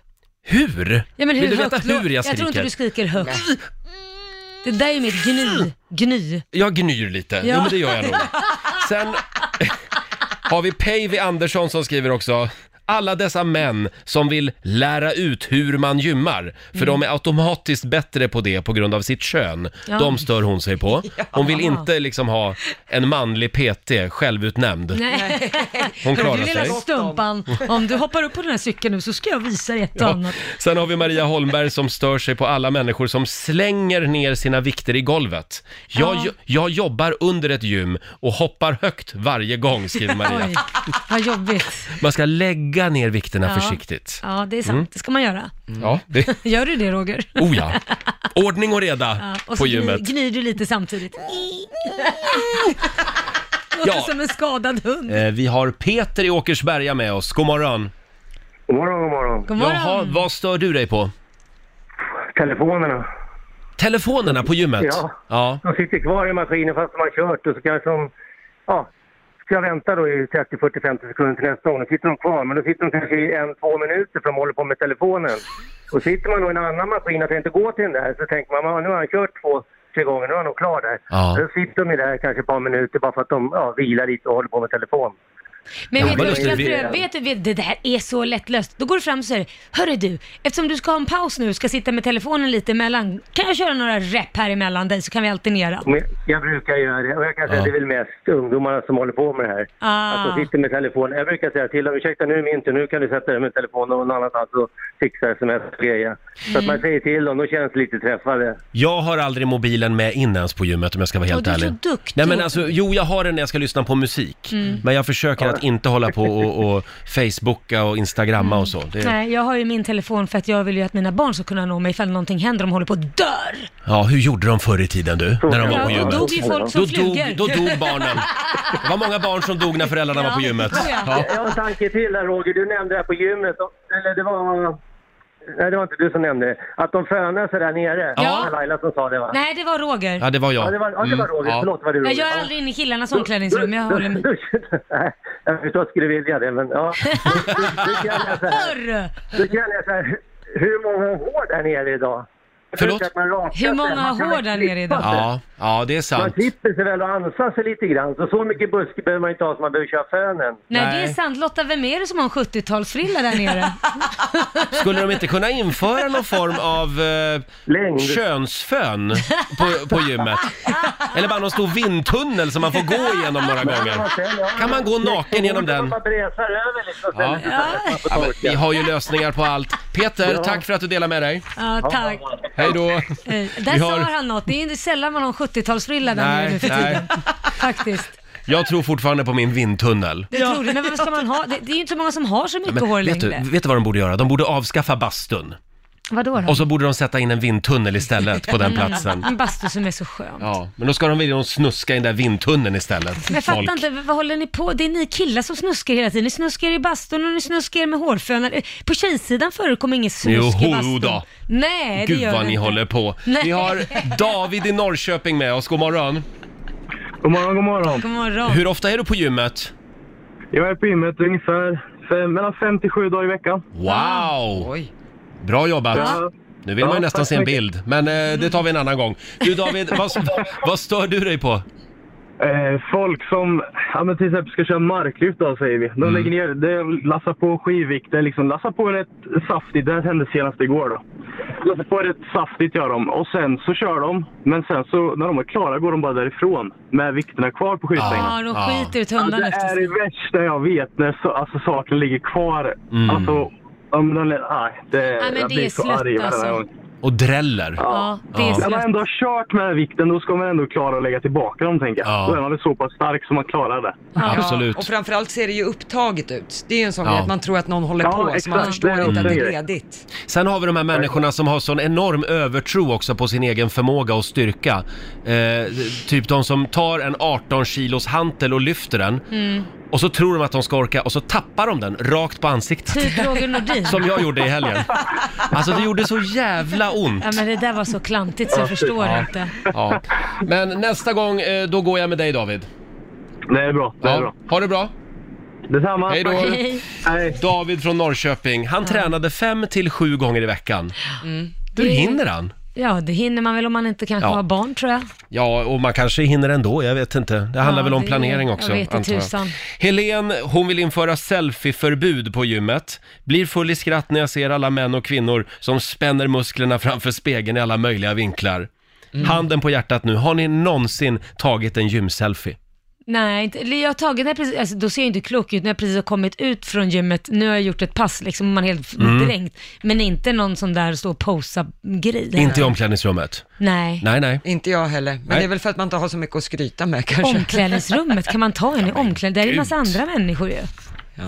Hur?
Ja, men hur
Vill du
högt
veta
då?
hur jag
Jag tror
skriker?
inte du skriker högt. Det där är mitt gny. Gny.
Jag gnyr lite. Jo,
Ja.
men det gör jag nog. Sen har vi Päivi Andersson som skriver också. Alla dessa män som vill lära ut hur man gymmar,
Mm.
för de är automatiskt bättre på det på grund av sitt kön.
Ja.
De stör hon sig på. Hon vill inte liksom ha en manlig PT, självutnämnd.
Nej.
Hon klarar
du lilla
sig.
stumpan, om du hoppar upp på den här cykeln nu så ska jag visa dig ett och
Ja.
annat.
Sen har vi Maria Holmberg som stör sig på alla människor som slänger ner sina vikter i golvet. Jag,
Ja.
jo- jag jobbar under ett gym och hoppar högt varje gång, skriver Maria.
Oj, vad jobbigt.
Man ska lägga ner vikterna
Ja.
försiktigt.
Ja, det är sant.
Mm.
Det ska man göra.
Ja, det,
Gör du det Roger?
oh ja. Ordning och reda
Ja, och så
på
gny,
gymmet.
gnyr du lite samtidigt. Låter
Ja.
som en skadad hund.
Eh, vi har Peter i Åkersberga med oss. God morgon.
God morgon, god morgon.
God morgon.
Jaha, vad stör du dig på?
Telefonerna.
Telefonerna på gymmet?
Ja.
ja.
De sitter kvar i maskinen fast de har kört och så kanske de... Ja, ska jag vänta då i 30, 40, 50 sekunder till nästa gång? Då sitter de kvar, men då sitter de kanske i en, två minuter för de håller på med telefonen. Och sitter man då i en annan maskin att inte gå till den där så tänker man "Ja, nu har han kört två, tre gånger, nu är han nog klar där.
Ja.
Då sitter de ju där kanske ett par minuter bara för att de ja, vilar lite och håller på med telefon.
Men
Ja,
vet,
men
du,
då ska
jag
vi-
tror- vet du, vet, det där är så lättlöst. Då går du fram och säger, hörru du, eftersom du ska ha en paus nu, ska sitta med telefonen lite emellan, kan jag köra några rep här emellan dig så kan vi alternera?
Men jag brukar göra det och jag kan säga
Ja.
att det är väl mest ungdomarna som håller på med det här.
Ah.
Att de sitter med telefonen. Jag brukar säga till dem, ursäkta nu är min tur, nu kan du sätta dig med telefonen någon annanstans och fixa sms och grejer. Så att
Mm.
man säger till dem, då känns det lite träffade.
Jag har aldrig mobilen med in ens på gymmet om jag ska vara helt
du är så
ärlig.
duktig. Mm.
Nej men alltså, jo jag har den när jag ska lyssna på musik. Men jag försöker att inte hålla på och, och facebooka och instagramma och så. Det,
Nej, jag har ju min telefon för att jag vill ju att mina barn ska kunna nå mig ifall någonting händer, de håller på att dör.
ja, hur gjorde de förr i tiden du? När de var på
Ja, då
gymmet?
dog ju folk som
Då
flugor.
dog, då dog barnen. Det var många barn som dog när föräldrarna var på
Ja,
gymmet.
det tror jag.
Ja.
Jag har en tanke till där Roger, du nämnde det här på gymmet. Eller det var... Nej, det var inte du som nämnde det. Att de fönar sig där nere.
Ja.
Det var Laila som sa det va?
Nej, det var Roger.
ja, det var jag.
Ja, det var, ja, det var
Mm,
Roger.
ja.
Förlåt, var det Roger?
Nej, jag är aldrig inne i killarnas omklädningsrum, jag håller med.
Nej, jag förstår att du skulle vilja det, men ja. Nu kan jag så här.
Hörru!
Då kan jag så här. Hur många har hår där nere idag?
Förlåt?
Att man rakar
Hur
sig.
många
Man
har
kan
hår där nere idag?
klippa sig.
Ja, ja det är sant.
Man klipper sig väl och ansar sig lite grann. Så, så mycket buske behöver man inte ha som man behöver köra fönen.
Nej, det är sant. Lotta, vem är det som har en 70-talsfrilla där nere?
Skulle de inte kunna införa någon form av eh, könsfön på, på gymmet? Eller bara någon stor vindtunnel som man får gå igenom några gånger? Kan man gå naken genom den?
Man bräsar över liksom.
Ja. Ja, men, vi har ju lösningar på allt. Peter,
Ja.
tack för att du delar med dig.
Ja, tack.
Hej då.
Eh,
Vi
Där
har-
sa han något. Det är inte sällan man har en 70-talsfrilla där nere nu
Nej,
för
nej.
tiden. Faktiskt.
Jag tror fortfarande på min vindtunnel.
Det tror du. Men vad ska man ha? Det, det är ju inte så många som har så mycket hår
Men vet, du, mm,
längre.
vet du vad de borde göra? De borde avskaffa bastun.
Vadå då?
Och så borde de sätta in en vindtunnel istället på den
Mm.
platsen.
En bastu som är så skön.
Ja, men då ska de vilja snuska i den där vindtunneln istället.
Men jag fattar
Folk.
inte, vad vad håller ni på? Det är ni killar som snuskar hela tiden. Ni snuskar i bastun och ni snuskar med hårfönar. Eh, På tjejsidan förekom ingen snusk i
Jo,
bastun.
då.
Nej, det
Gud
gör
vad
det
ni
inte.
håller på.
Nej.
Vi har David i Norrköping med oss. God morgon.
God morgon, god morgon.
God morgon.
Hur ofta är du på gymmet?
Jag är på gymmet ungefär fem, mellan fem till sju dagar i veckan.
Wow! Bra jobbat.
Ja.
Nu vill man
Ja,
ju nästan
tack
se
så
en
mycket.
bild, men eh, det tar vi en annan gång. Du David, vad, vad stör du dig på?
Eh, folk som ja, men till exempel ska köra marklyft då, säger vi. De
Mm.
lägger ner, de lassar på skivvikter, liksom lassar på rätt saftigt. Det här hände senast igår då. Lassar på rätt saftigt gör de och sen så kör de. Men sen så när de är klara går de bara därifrån med vikterna kvar på
Ah.
skivstängen.
Ja, de skiter i tunnan
Ja,
efter
Det är
sig.
det värsta jag vet när så, alltså, saker ligger kvar.
Mm.
Alltså, om de, nej, det,
Ah.
men det
jag
är
blir så
slött,
arg varje
alltså.
gång.
Och dräller.
Ja, det är
När man
slött.
ändå har kört med den här vikten, då ska man ändå klara att lägga tillbaka dem, tänker jag. Då är man väl så pass stark som man klarar det.
Ja, och framförallt ser det ju upptaget ut. Det är ju en sån
Ja.
grej att man tror att någon håller
Ja,
på, så man
exakt. Det
förstår
är
inte att det
också
är
en grej.
ledigt.
Sen har vi de här människorna som har sån enorm övertro också på sin egen förmåga och styrka. Eh, typ de som tar en 18 kilos hantel och lyfter den.
Mm.
Och så tror de att de ska orka och så tappar de den rakt på ansiktet.
Typ Roger Nordin.
Som jag gjorde i helgen. Alltså det gjorde så jävla ont.
Ja, men det där var så klantigt så jag förstår
Ja.
inte.
Ja. Men nästa gång, eh, då går jag med dig David.
Det är bra, det är bra.
Ha det bra.
Detsamma.
Hej då.
Hej.
David från Norrköping, han tränade fem till sju gånger i veckan. Hur
Det-
hinner han?
Ja, det hinner man väl om man inte kanske
Ja.
har barn tror jag.
Ja, och man kanske hinner ändå, jag vet inte. Det handlar
Ja,
väl om
det-
planering
jag
också,
vet inte
antar jag.
tusan.
Helen, hon vill införa selfieförbud på gymmet. Blir full i skratt när jag ser alla män och kvinnor som spänner musklerna framför spegeln i alla möjliga vinklar.
Mm.
Handen på hjärtat nu, har ni någonsin tagit en gymselfie?
Nej, inte, eller jag har tagit den här precis, alltså, då ser jag inte klok ut när jag precis har kommit ut från gymmet. Nu har jag gjort ett pass liksom, och man är helt
Mm.
dränkt. Men inte någon sån där stå och posa-grej.
Inte i omklädningsrummet?
Nej.
Nej, nej.
Inte jag heller. Men
Nej.
det är väl för att man inte har så mycket att skryta med kanske.
Omklädningsrummet, kan man ta en i omklädningsrummet? Där är en massa andra människor ju.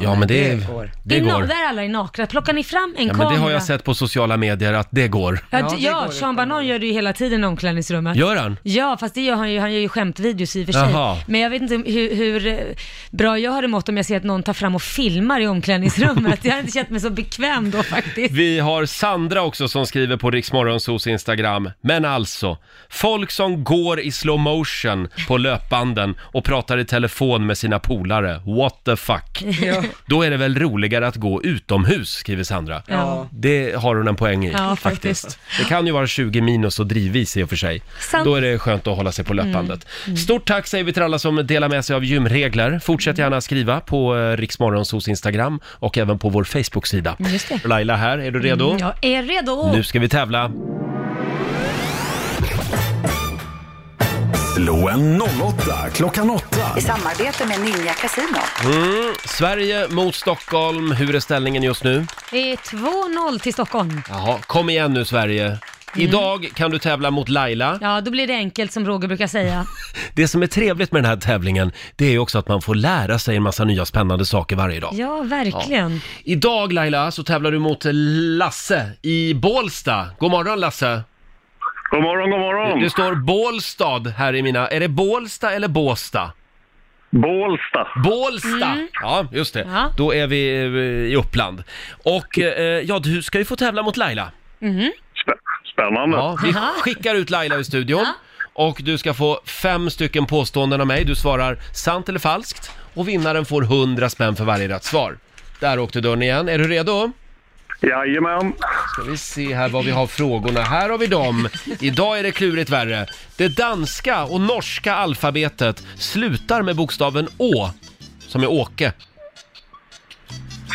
Ja, men det,
det
det
går.
går.
I na- Där alla är nakna. Plockar ni fram
Ja,
en
men
kamera?
det har jag sett på sociala medier att det går.
Ja, d- ja Sean Banan gör det ju hela tiden i omklädningsrummet.
Gör han?
Ja, fast det gör han ju. Han gör ju skämtvideos i och för sig.
Jaha.
Men jag vet inte hur, hur eh, bra jag hade mått om jag ser att någon tar fram och filmar i omklädningsrummet. jag hade inte känt mig så bekväm då faktiskt.
Vi har Sandra också som skriver på Riksmorgonsos Instagram. Men alltså, folk som går i slow motion på löpbanden och pratar i telefon med sina polare. What the fuck?
Ja.
Då är det väl roligare att gå utomhus, skriver Sandra.
Ja.
Det har hon en poäng i,
Ja,
faktiskt.
faktiskt.
Det kan ju vara 20 minus och drivis i och för sig.
Sant.
Då är det skönt att hålla sig
Mm.
på löpbandet. Stort tack säger vi till alla som delar med sig av gymregler. Fortsätt gärna skriva på eh, Riksmorgonsos Instagram och även på vår Facebook-sida.
Just det.
Laila här, är du redo?
Mm, jag är redo.
Nu ska vi tävla.
Slå en 08 klockan 8.
I samarbete med Ninja Casino.
Mm. Sverige mot Stockholm, hur är ställningen just nu?
Det är 2-0 till Stockholm.
Jaha, kom igen nu
Mm.
Sverige. Idag kan du tävla mot Laila.
Ja, då blir det enkelt som Roger brukar säga.
Det som är trevligt med den här tävlingen, det är ju också att man får lära sig en massa nya spännande saker varje dag.
Ja, verkligen.
Idag Laila så tävlar du mot Lasse i Bålsta. God morgon Lasse!
God morgon, god morgon.
Det, det står Bålstad här i mina... Är det Bålsta eller Båsta?
Bålsta.
Bålsta! Ja, just det.
Ja.
Då är vi eh, i Uppland. Och eh, ja, du ska ju få tävla mot Laila.
Mhm.
Spännande.
Ja, vi skickar ut Laila ur studion. Och du ska få fem stycken påståenden av mig. Du svarar sant eller falskt. Och vinnaren får 100 spänn för varje rätt svar. Där åkte dörren igen. Är du redo?
Jajamän.
Ska vi se här vad vi har frågorna. Här har vi dem. Idag är det klurigt värre. Det danska och norska alfabetet slutar med bokstaven Å, som är Åke.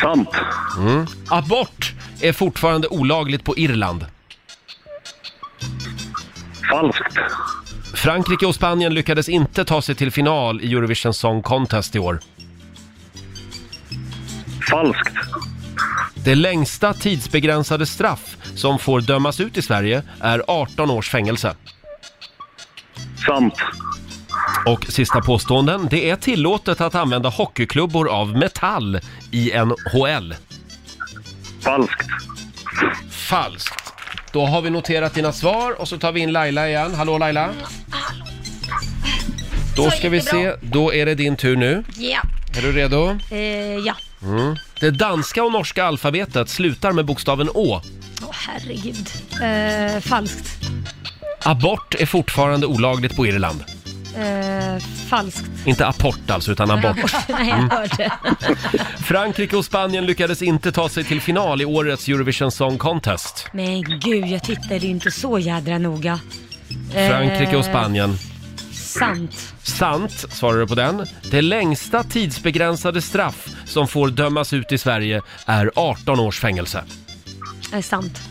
Sant. Mm. Abort är fortfarande olagligt på Irland. Falskt. Frankrike och Spanien lyckades inte ta sig till final i Eurovision Song Contest i år. Falskt. Det längsta tidsbegränsade straff som får dömas ut i Sverige är 18 års fängelse. Sant. Och sista påståenden. Det är tillåtet att använda hockeyklubbor av metall i NHL. Falskt. Falskt. Då har vi noterat dina svar och så tar vi in Laila igen. Hallå Laila. Då ska vi se. Då är det din tur nu.
Ja.
Är du redo?
Eh, ja.
Mm. Det danska och norska alfabetet slutar med bokstaven Å.
Åh herregud. Eh, falskt.
Abort är fortfarande olagligt på Irland.
Eh, falskt.
Inte apport alltså, utan abort.
Nej, jag
Mm.
hörde.
Frankrike och Spanien lyckades inte ta sig till final i årets Eurovision Song Contest.
Men gud, jag tittade ju inte så jädra noga. Eh,
Frankrike och Spanien.
Sant.
Sant, svarar du på den. Det längsta tidsbegränsade straff som får dömas ut i Sverige är 18 års fängelse.
Eh, sant.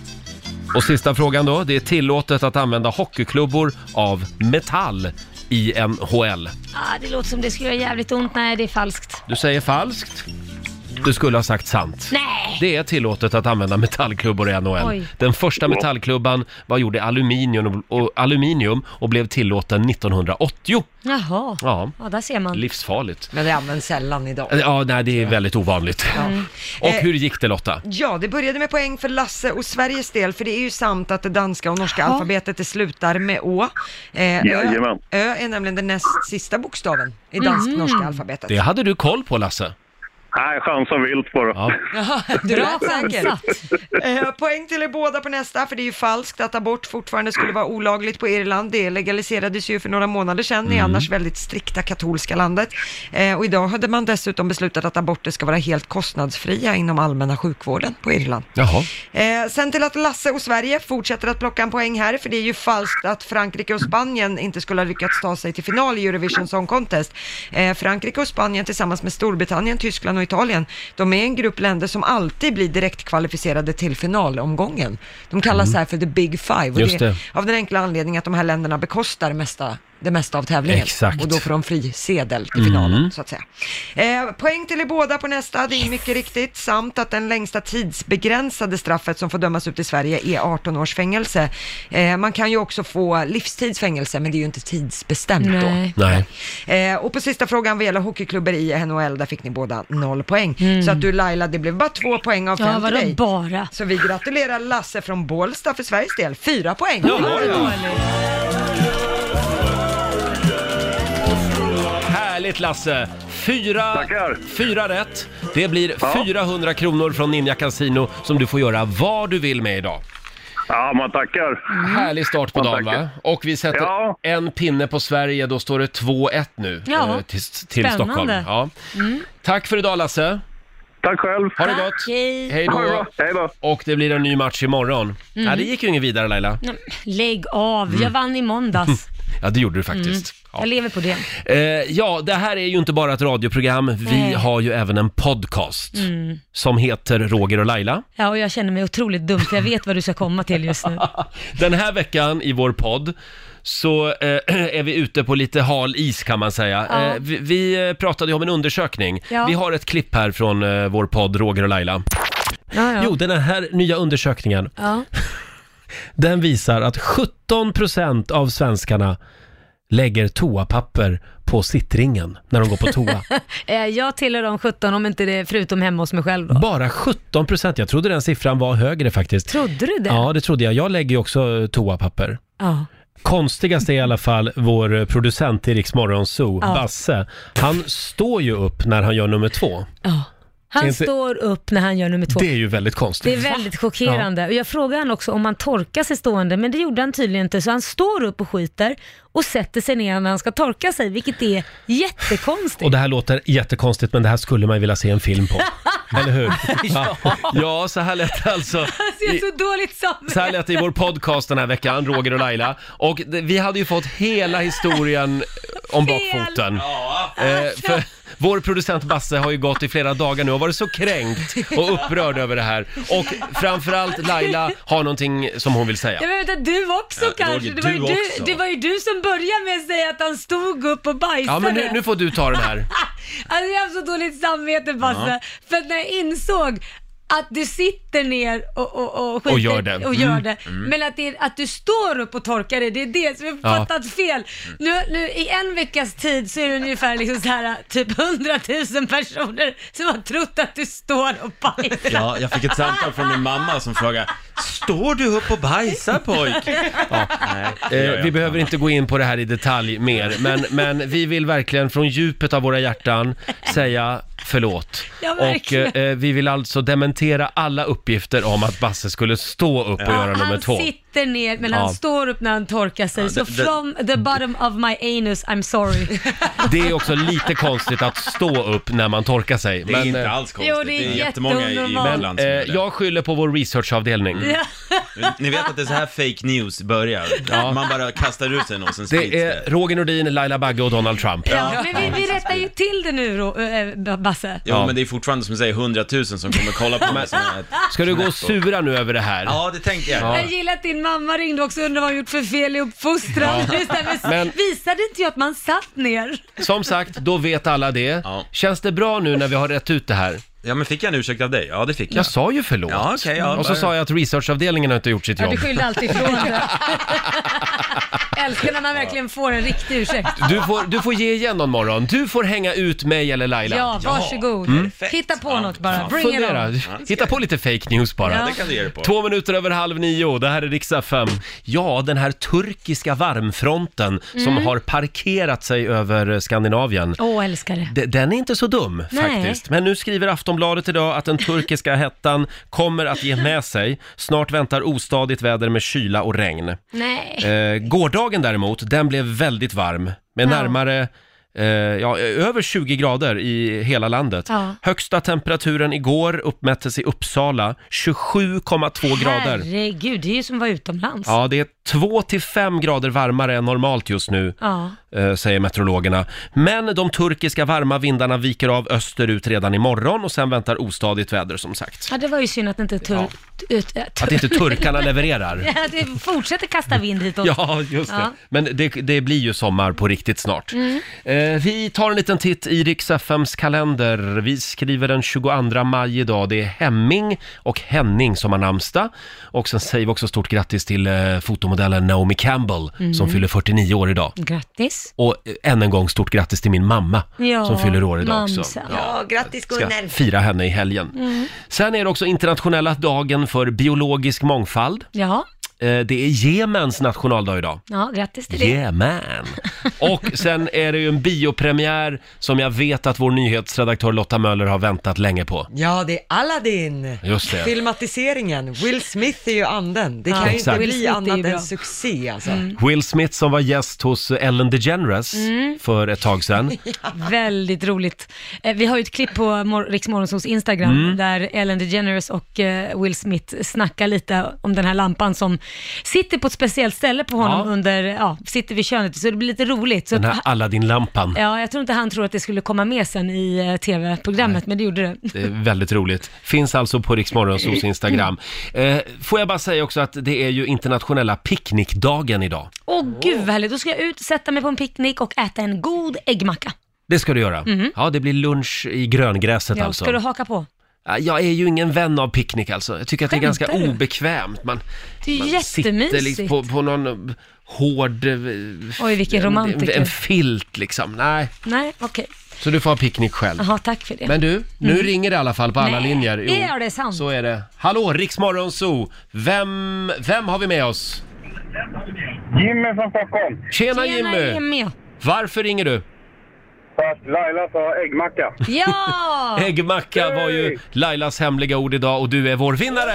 Och sista frågan då. Det är tillåtet att använda hockeyklubbor av metall i NHL.
Ah, det låter som det skulle göra jävligt ont. Nej, det är falskt.
Du säger falskt. Du skulle ha sagt sant.
Nej!
Det är tillåtet att använda metallklubbor i NHL.
Oj.
Den första metallklubban var gjord i aluminium och, och, aluminium och blev tillåten 1980.
Jaha.
Ja,
Ja, där ser man.
livsfarligt.
Men det används sällan idag.
Ja, nej, det är väldigt ovanligt.
Ja.
Och
Eh,
hur gick det Lotta?
Ja, det började med poäng för Lasse och Sveriges del, för det är ju sant att det danska och norska alfabetet det slutar med Å. Eh, ö,
Jajamän.
ö är nämligen den näst sista bokstaven i dansk-norska alfabetet.
Mhm. Det hade du koll på Lasse.
Nej, chansa vilt bara.
Jaha, du
Bra
är säker. Eh, poäng till er båda på nästa, för det är ju falskt att abort fortfarande skulle vara olagligt på Irland. Det legaliserades ju för några månader sedan i
Mm.
annars väldigt strikta katolska landet. Eh, och idag hade man dessutom beslutat att aborter ska vara helt kostnadsfria inom allmänna sjukvården på Irland.
Jaha.
Eh, sen till att Lasse och Sverige fortsätter att plocka en poäng här, för det är ju falskt att Frankrike och Spanien inte skulle ha lyckats ta sig till final i Eurovision Song Contest. Eh, Frankrike och Spanien tillsammans med Storbritannien, Tyskland och Italien, de är en grupp länder som alltid blir direkt kvalificerade till finalomgången. De kallas här för the big five, och
Mm. Just
det är
det.
av den enkla anledningen att de här länderna bekostar mesta, det mesta av tävlingen.
Exakt.
Och då får de fri sedel till
Mm.
finalen, så att säga. Eh, poäng till er båda på nästa, det är mycket riktigt. Samt att den längsta tidsbegränsade straffet som får dömas ut i Sverige är 18 års fängelse. Eh, man kan ju också få livstidsfängelse, men det är ju inte tidsbestämt
Nej.
då. Eh, och på sista frågan vad gäller hockeyklubbor i NHL, där fick ni båda noll poäng. Så att du Laila, det blev bara två poäng av
Mm. Ja,
fem
vadå
till dig.
bara?
Så vi gratulerar Lasse från Bålsta för Sveriges del. Fyra poäng.
Ja, ja. Härligt Lasse! Fyra, fyra rätt. Det blir 400 kronor från Ninja Casino som du får göra vad du vill med idag.
Ja, man tackar.
Härlig start på
Man
dagen
tackar.
va? Och vi sätter
Ja.
en pinne på Sverige, då står det 2-1 nu
Ja.
eh, till, till
Spännande.
Stockholm. Ja.
Mm.
Tack för idag Lasse! Tack själv! Ha det
Tack,
gott!
hej.
Hej då! Och det blir en ny match imorgon.
Mm.
Ja, det gick ju ingen vidare Laila.
Nej, men Lägg av,
Mm.
jag vann i måndags.
Ja, det gjorde du faktiskt.
Mm.
Ja.
Jag lever på det.
Eh, ja, det här är ju inte bara ett radioprogram. Vi
Nej.
har ju även en podcast
Mm.
som heter Roger och Laila.
Ja, och jag känner mig otroligt dum, för jag vet vad du ska komma till just nu.
Den här veckan i vår podd så eh, är vi ute på lite hal is kan man säga.
Ja.
Eh, vi, vi eh, pratade ju om en undersökning.
Ja.
Vi har ett klipp här från eh, vår podd Roger och Laila.
Ja, ja.
Jo, den här nya undersökningen,
Ja.
den visar att 17% av svenskarna lägger toapapper på sittringen när de går på toa.
Eh, jag tillhör de 17, om inte det är förutom hemma hos mig själv då.
Bara 17 procent. Jag trodde den siffran var högre faktiskt.
Trodde du det?
Ja, det trodde jag. Jag lägger ju också eh, toapapper.
Ja.
Konstigast är i alla fall vår eh, producent i Riks Morgonzoo,
Ja.
Basse. Han står ju upp när han gör nummer två.
Ja. Han
Inte-
står upp när han gör nummer två.
Det är ju väldigt konstigt.
Det är väldigt chockerande. Och jag frågade han också om han torkar sig stående, men det gjorde han tydligen inte. Så han står upp och skiter och sätter sig ner när han ska torka sig, vilket är jättekonstigt.
Och det här låter jättekonstigt, men det här skulle man ju vilja se en film på. Eller hur?
Ja.
ja, så här lät det alltså.
Han ser så dåligt
Så här
samvete.
lät det i vår podcast den här veckan, Roger och Laila. Och det, vi hade ju fått hela historien om
Fel.
bakfoten. Eh, för vår producent Basse har ju gått i flera dagar nu och varit så kränkt och upprörd över det här. Och framförallt Laila har någonting som hon vill säga.
Jag vet att du också
Ja,
kanske.
Roger,
Det var, ju
du
du,
också.
det var ju du som började med att säga att han stod upp och bajsade.
Ja, men nu, nu får du ta den här.
Alltså jag har så dåligt samvete Basse,
Ja.
för att när jag insåg att du sitter ner och, och, och skiter
Och gör det.
Och gör
Mm.
det.
Mm.
Men att, det är, att du står upp och torkar dig, det är det som jag
Ja.
fattat fel. Nu, nu i en veckas tid så är det ungefär liksom så här, typ 100 000 personer som har trott att du står och bajsar.
Ja, jag fick ett samtal från min mamma som frågade Står du upp och bajsar pojk?
Ja.
det gör
Eh,
jag
vi
inte.
behöver inte gå in på det här i detalj mer, men, men vi vill verkligen från djupet av våra hjärtan säga förlåt.
Ja,
och
verkligen.
eh, vi vill alltså dementera alla uppgifter om att Basse skulle stå upp och göra nummer
han
två.
sitter ner men
Ja.
han står upp när han torkar sig.
Ja,
så
det- det-
from the bottom of my anus, I'm sorry.
Det är också lite konstigt att stå upp när man torkar sig.
Det är inte alls konstigt.
Jo, det är Det är
jättemånga i- i jättenormalt. vårt land
Men,
som
eh,
gör det.
jag skyller på vår researchavdelning.
Ja.
Ni vet att det är så här fake news börjar. Man bara kastar ut sig och sen sprids
Det
det.
är Roger Nordin, Laila Bagge och Donald Trump.
Ja, men vi, vi rättar ju till det nu Ro- äh, Basse.
Jo, men det är fortfarande som du säger, hundratusen som kommer kolla på mig som är
Ska du gå och
knäpp
sura nu över det här?
Ja, det tänkte jag.
Jag gillar att din mamma ringde också och undrade vad hon gjort för fel i uppfostran.
Ja.
Just det här med-
Men-
Visade inte jag att man satt ner?
Som sagt, då vet alla det. Känns det bra nu när vi har rätt ut det här?
Ja, men fick jag en ursäkt av dig? Ja, det fick jag.
Jag sa ju förlåt.
Ja, okej, ja,
och så
bara-
sa jag att researchavdelningen har inte gjort sitt
Ja,
jobb.
du skyllde alltid ifrån dig. Älskar när man verkligen får en riktig ursäkt.
Du får, du får ge igen någon morgon. Du får hänga ut mig eller Laila.
Ja, varsågod.
Mm.
Hitta på något bara. Bring
Fundera.
it on.
Hitta på lite fake news bara.
Ja. Det kan du ge dig på.
Två minuter över halv nio, det här är Riksa 5. Ja, den här turkiska varmfronten som
Mm.
har parkerat sig över Skandinavien.
Åh, älskar det.
D- Den är inte så dum
Nej.
faktiskt. Men nu skriver Aftonbladet idag att den turkiska hettan kommer att ge med sig. Snart väntar ostadigt väder med kyla och regn.
Nej.
Eh, gårdagen däremot, den blev väldigt varm med
Ja.
närmare eh, ja, över 20 grader i hela landet.
Ja.
Högsta temperaturen igår uppmättes i Uppsala, 27,2 grader.
Herregud, det är ju som att vara utomlands.
Ja, det är 2-5 grader varmare än normalt just nu.
Ja.
eh, säger meteorologerna. Men de turkiska varma vindarna viker av österut redan imorgon och sen väntar ostadigt väder som sagt.
Ja, det var ju synd att inte, tur- ut- äh, tur-
Att inte turkarna levererar.
Ja, det fortsätter kasta vind hitåt.
Ja, just det.
Ja.
Men det, det blir ju sommar på riktigt snart.
Mm.
Eh, vi tar en liten titt i Rix FMs kalender. Vi skriver den 22 maj idag. Det är Hemming och Henning som har namnsdag. Och sen säger vi också stort grattis till eh, fotomodellen Naomi Campbell
Mm.
som fyller 49 år idag.
Grattis.
Och eh, än en gång stort grattis till min mamma
Ja,
som fyller år idag också.
mamsen.
Ja, grattis
Ska
Gunnel.
fira henne i helgen.
Mm.
Sen är det också internationella dagen för biologisk mångfald.
Ja,
Eh, Det är Jemens nationaldag idag.
ja grattis till det.
Yeah man! Och sen är det ju en biopremiär som jag vet att vår nyhetsredaktör Lotta Möller har väntat länge på.
Ja, det är Aladdin.
Just det.
Filmatiseringen. Will Smith är ju anden. Det kan
Ja,
ju
exakt.
inte
Will
bli
Smith är ju
annat
bra. Mm.
än succé alltså.
Will Smith som var gäst hos Ellen DeGeneres
Mm.
för ett tag sedan.
Väldigt roligt. Eh, Vi har ju ett klipp på Mor- Rix Morgonzoos Instagram
Mm.
där Ellen DeGeneres och eh, Will Smith snackar lite om den här lampan som sitter på ett speciellt ställe på honom
Ja.
under, ja, sitter vid könet. Så det blir lite roligt. Så
Den här
att-
Aladdin-lampan.
Ja, jag tror inte han tror att det skulle komma med sen i eh, tv-programmet, men det gjorde det.
Det är väldigt roligt. Finns alltså på
Mm.
Riksmorgonsos Instagram. Eh, får jag bara säga också att det är ju internationella picknickdagen idag.
Åh gud vad härligt, då ska jag ut, sätta mig på en picknick och äta en god äggmacka.
Det ska du göra.
Mhm.
Ja, det blir lunch i gröngräset
Ja,
alltså.
Ska du haka på?
Ja, Jag är ju ingen vän av picknick alltså. Jag tycker att det är ganska
Skämtar du?
obekvämt. Man,
Det är ju
man sitter
jättemysigt.
liksom på, på någon hård... eh,
Oj, vilken
en-
romantiker.
En, en filt liksom. Nej,
Nej, okej.
så du får ha picknick själv.
Jaha, tack för det.
Men du, nu
Mm.
ringer det i alla fall på alla
Nej,
linjer.
är det sant?
Så är det. Hallå, Riksmorgon Zoo. Vem, vem har vi med oss?
Jimmy från Stockholm.
Tjena, Jimmy! Varför ringer du?
Fast Laila sa äggmacka.
Ja!
Äggmacka var ju Lailas hemliga ord idag och du är vår vinnare!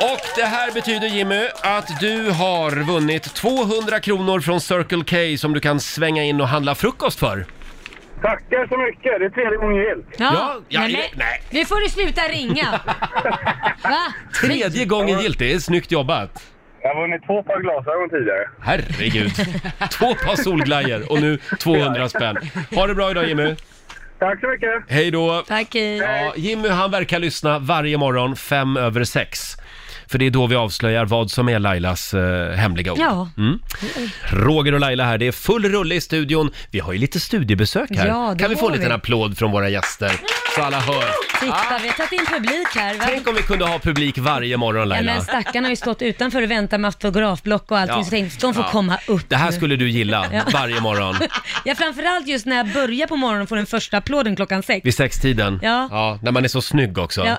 Och det här betyder Jimmy att du har vunnit 200 kronor från Circle K som du kan svänga in och handla frukost för.
Tackar så mycket, det är tredje gången gillt.
Ja, ja,
nej,
ja,
men, Nu får du sluta ringa. Va?
Tredje gången gillt, det är snyggt jobbat.
Jag har vunnit två par glasögon tidigare.
Herregud. Två par solglajjor och nu 200 spänn. Ha det bra idag Jimmy.
Tack så mycket.
Hej då.
Tack.
Ja, Jimmy han verkar lyssna varje morgon fem över sex. För det är då vi avslöjar vad som är Lailas eh, hemliga ord.
Ja.
Mm. Roger och Laila här, det är full rulle i studion. Vi har ju lite studiebesök här.
Ja, det
kan vi få en
har
liten
vi.
applåd från våra gäster? Så alla hör.
Titta, vi har tagit in publik här. Va?
Tänk om vi kunde ha publik varje morgon
Ja,
Laila.
men stackarna har ju stått utanför och väntat med autografblock och allting,
Ja.
så tänkte de får
Ja.
komma upp
Det här
nu.
skulle du gilla
Ja.
varje morgon.
Ja, framförallt just när jag börjar på morgonen och får den första applåden klockan sex.
Vid sextiden.
Ja.
när man är så snygg också.
Ja.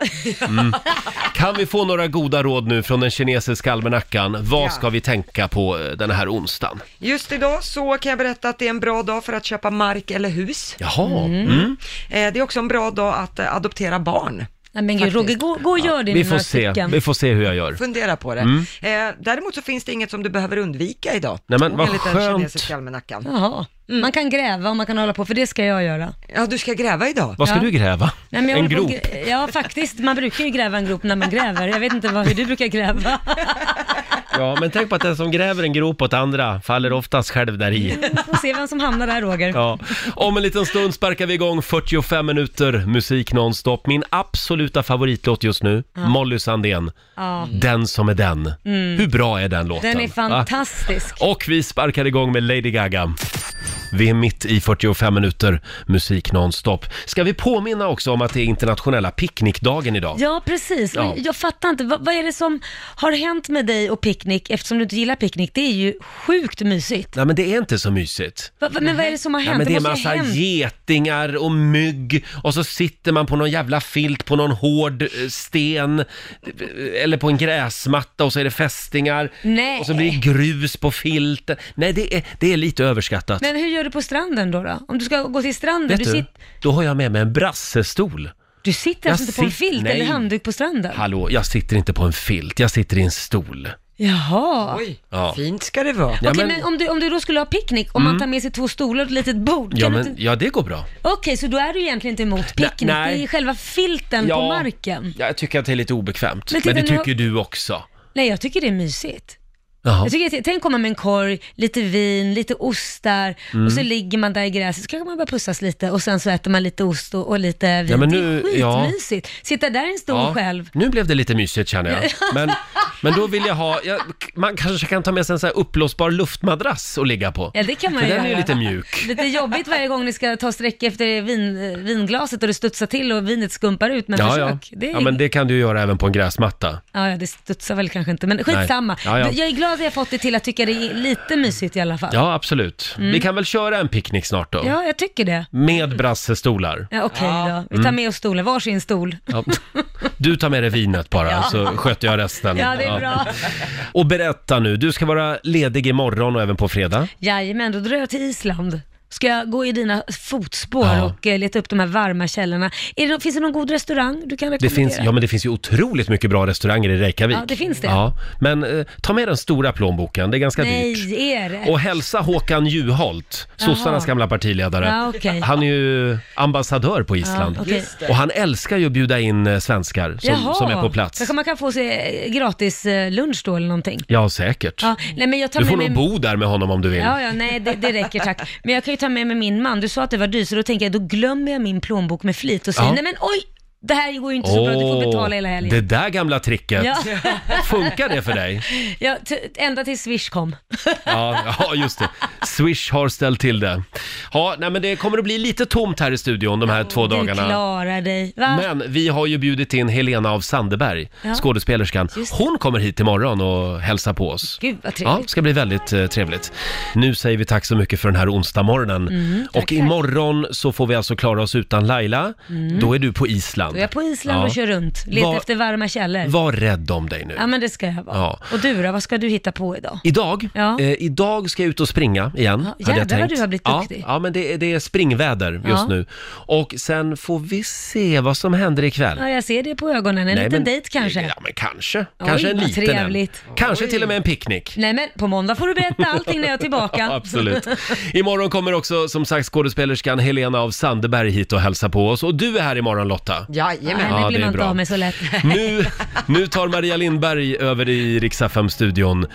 Mm. Kan vi få några goda råd nu från den kinesiska almanackan? Vad
Ja.
ska vi tänka på eh, den här onsdagen?
Just idag så kan jag berätta att det är en bra dag för att köpa mark eller hus.
Jaha. Mm. Mm.
Eh, Det är också en bra dag att eh, adoptera barn.
Nej, men gud, Roger, gå, gå och gör det
Vi
nu,
får
några
se.
stycken.
Vi får se hur jag gör.
Fundera på det.
Mm.
Eh, däremot så finns det inget som du behöver undvika idag.
Nej, men vad
Enligt
skönt.
den kinesiska almanackan.
Jaha.
Mm.
Man kan gräva och man kan hålla på, för det ska jag göra.
Ja, du ska gräva idag.
Vad ska
Ja.
du gräva?
Nej, men jag
en
håller på
grop?
och grä- Ja, faktiskt. Man brukar ju gräva en grop när man gräver. Jag vet inte vad, hur du brukar gräva.
Ja, men tänk på att den som gräver en grop åt andra faller oftast själv där i.
Får se vem som hamnar där, Roger.
Ja. Om en liten stund sparkar vi igång 45 minuter musik nonstop. Min absoluta favoritlåt just nu,
Ja.
Molly Sandén.
Ja.
Den som är den.
Mm.
Hur bra är den låten?
Den är
Va?
fantastisk.
Och vi sparkar igång med Lady Gaga. Vi är mitt i 45 minuter musik nonstop. Ska vi påminna också om att det är internationella picknickdagen idag?
Ja, precis. Men
Ja.
Jag fattar inte, vad, vad är det som har hänt med dig och picknick, eftersom du inte gillar picknick? Det är ju sjukt mysigt.
Nej men det är inte så mysigt.
Va, va, men vad är det som har hänt?
Nej, Mhm. men det är
måste ju ha
massa
hänt.
getingar och mygg och så sitter man på någon jävla filt på någon hård eh, sten eh, eller på en gräsmatta och så är det fästingar
Nej.
och så blir det grus på filten. Nej, det är, det är lite överskattat.
Men hur gör du på stranden då? då? Om du ska gå till stranden,
Vet
du,
du,
sit,
då har jag med mig en brassestol.
du sitter
Jag
alltså inte på en
sit-
filt
nej.
eller handduk på stranden?
Hallå, jag sitter inte på en filt, jag sitter i en stol.
Jaha.
Ja.
Fint ska det vara.
Ja,
Okej,
men,
men om du, om du då skulle ha picknick, om
Mm.
man tar med sig två stolar och ett litet bord,
ja,
kan du
men,
inte...
ja, det går bra.
Okej, så då är du egentligen inte emot picknick,
nej.
det är själva filten på
Ja.
marken.
Ja, Jag tycker att det är lite obekvämt,
Men
men,
titta,
det
nu har-
tycker du också.
Nej, jag tycker det är mysigt.
Jaha.
Jag tycker, tänk komma med en korg, lite vin, lite ostar
Mm.
och så ligger man där i gräset så kanske man börjar pussas lite och sen så äter man lite ost och, och lite vin.
Ja, men
det är
nu-
skitmysigt. Sitta där i en stol själv.
Nu blev det lite mysigt känner jag. Men, men då vill jag ha, jag, man kanske kan ta med sig en sån här uppblåsbar luftmadrass och ligga på.
Ja, det kan man
För
ju
den är ju
göra.
lite mjuk.
Lite jobbigt varje gång ni ska ta sträck efter vin, eh, vinglaset och det studsar till och vinet skumpar ut, men
ja, ja.
försök. Det är...
ja, men det kan du ju göra även på en gräsmatta.
Ja, ja, det studsar väl kanske inte, men skitsamma.
Ja, ja.
Jag är glad att jag fått det till att tycka det är lite mysigt i alla fall.
Ja, absolut.
Mm.
Vi kan väl köra en picknick snart då?
Ja, jag tycker det.
Med brassestolar.
Ja, Okej då, vi tar
Mm.
med oss stolar, varsin stol.
Ja. Du tar med dig vinet bara,
Ja.
så sköter jag resten.
Ja, det är bra.
Och berätta nu, du ska vara ledig imorgon och även på fredag.
Jajamän, då drar jag till Island. Ska jag gå i dina fotspår
Ja.
och eh, leta upp de här varma källorna? Är det, nå- finns det någon god restaurang du kan
Det
rekommendera?
finns, ja, men det finns ju otroligt mycket bra restauranger i Reykjavik.
Ja, det finns det.
Ja, men eh, ta med den stora plånboken, det är ganska dyrt.
Nej, är det?
Och hälsa Håkan Juholt, sossarnas
Jaha.
gamla partiledare.
Ja, okej.
Han är ju ambassadör på Island.
Ja, okej. Just det.
Och han älskar ju att bjuda in eh, svenskar som,
Jaha.
som är på plats.
Kanske man kan få sig eh, gratis eh, lunch då eller någonting.
Ja, säkert.
Ja, nej, men jag tar
Du
med
får
mig...
nog bo där med honom om du vill.
Ja, ja, nej det, det räcker tack. Men jag kan ju ta med mig min man. Du sa att det var dyrt, så då tänker jag då glömmer jag min plånbok med flit och säger
Ja.
nej men oj, det här går ju inte så bra, du får betala hela helgen.
Det där gamla tricket.
Ja.
Funkar det för dig?
Ja, t- ända tills Swish kom.
Ja, ja, just det. Swish har ställt till det. Ja, nej, men det kommer att bli lite tomt här i studion de här två
Du
dagarna.
klarar dig. Va?
Men vi har ju bjudit in Helena av Sandeberg,
Ja.
skådespelerskan. Hon kommer hit imorgon och hälsar på oss.
Gud vad
Ja,
trevligt.
det ska bli väldigt eh, trevligt. Nu säger vi tack så mycket för den här onsdagmorgonen.
Mm, tack,
och imorgon så får vi alltså klara oss utan Laila.
Mm.
Då är du på Island. Island.
Då är jag på Island
Ja.
och kör runt. Letar
Var-
efter varma källor.
Var rädd om dig nu.
Ja, men det ska jag vara.
Ja.
Och du då, vad ska du hitta på idag?
Idag,
Ja.
eh, idag ska jag ut och springa igen.
Ja,
hade jag
jävlar vad
tänkt.
du har blivit
ja,
duktig.
Ja, men det är, det är springväder just
Ja.
nu. Och sen får vi se vad som händer ikväll.
Ja, jag ser det på ögonen. En
Nej,
liten
men-
dejt kanske.
Ja, men kanske. Kanske
Oj,
en
vad
liten
trevligt.
en. Kanske
Oj.
till och med en picknick.
Nej, men på måndag får du berätta allting när jag är tillbaka.
Ja, absolut. Imorgon kommer också som sagt skådespelerskan Helena av Sandeberg hit och hälsa på oss. Och du är här imorgon Lotta.
Jajamän.
Ja,
henne
det är
blir man inte
bra.
av med så lätt.
Nu, nu tar Maria Lindberg över i Riksaffem-studion.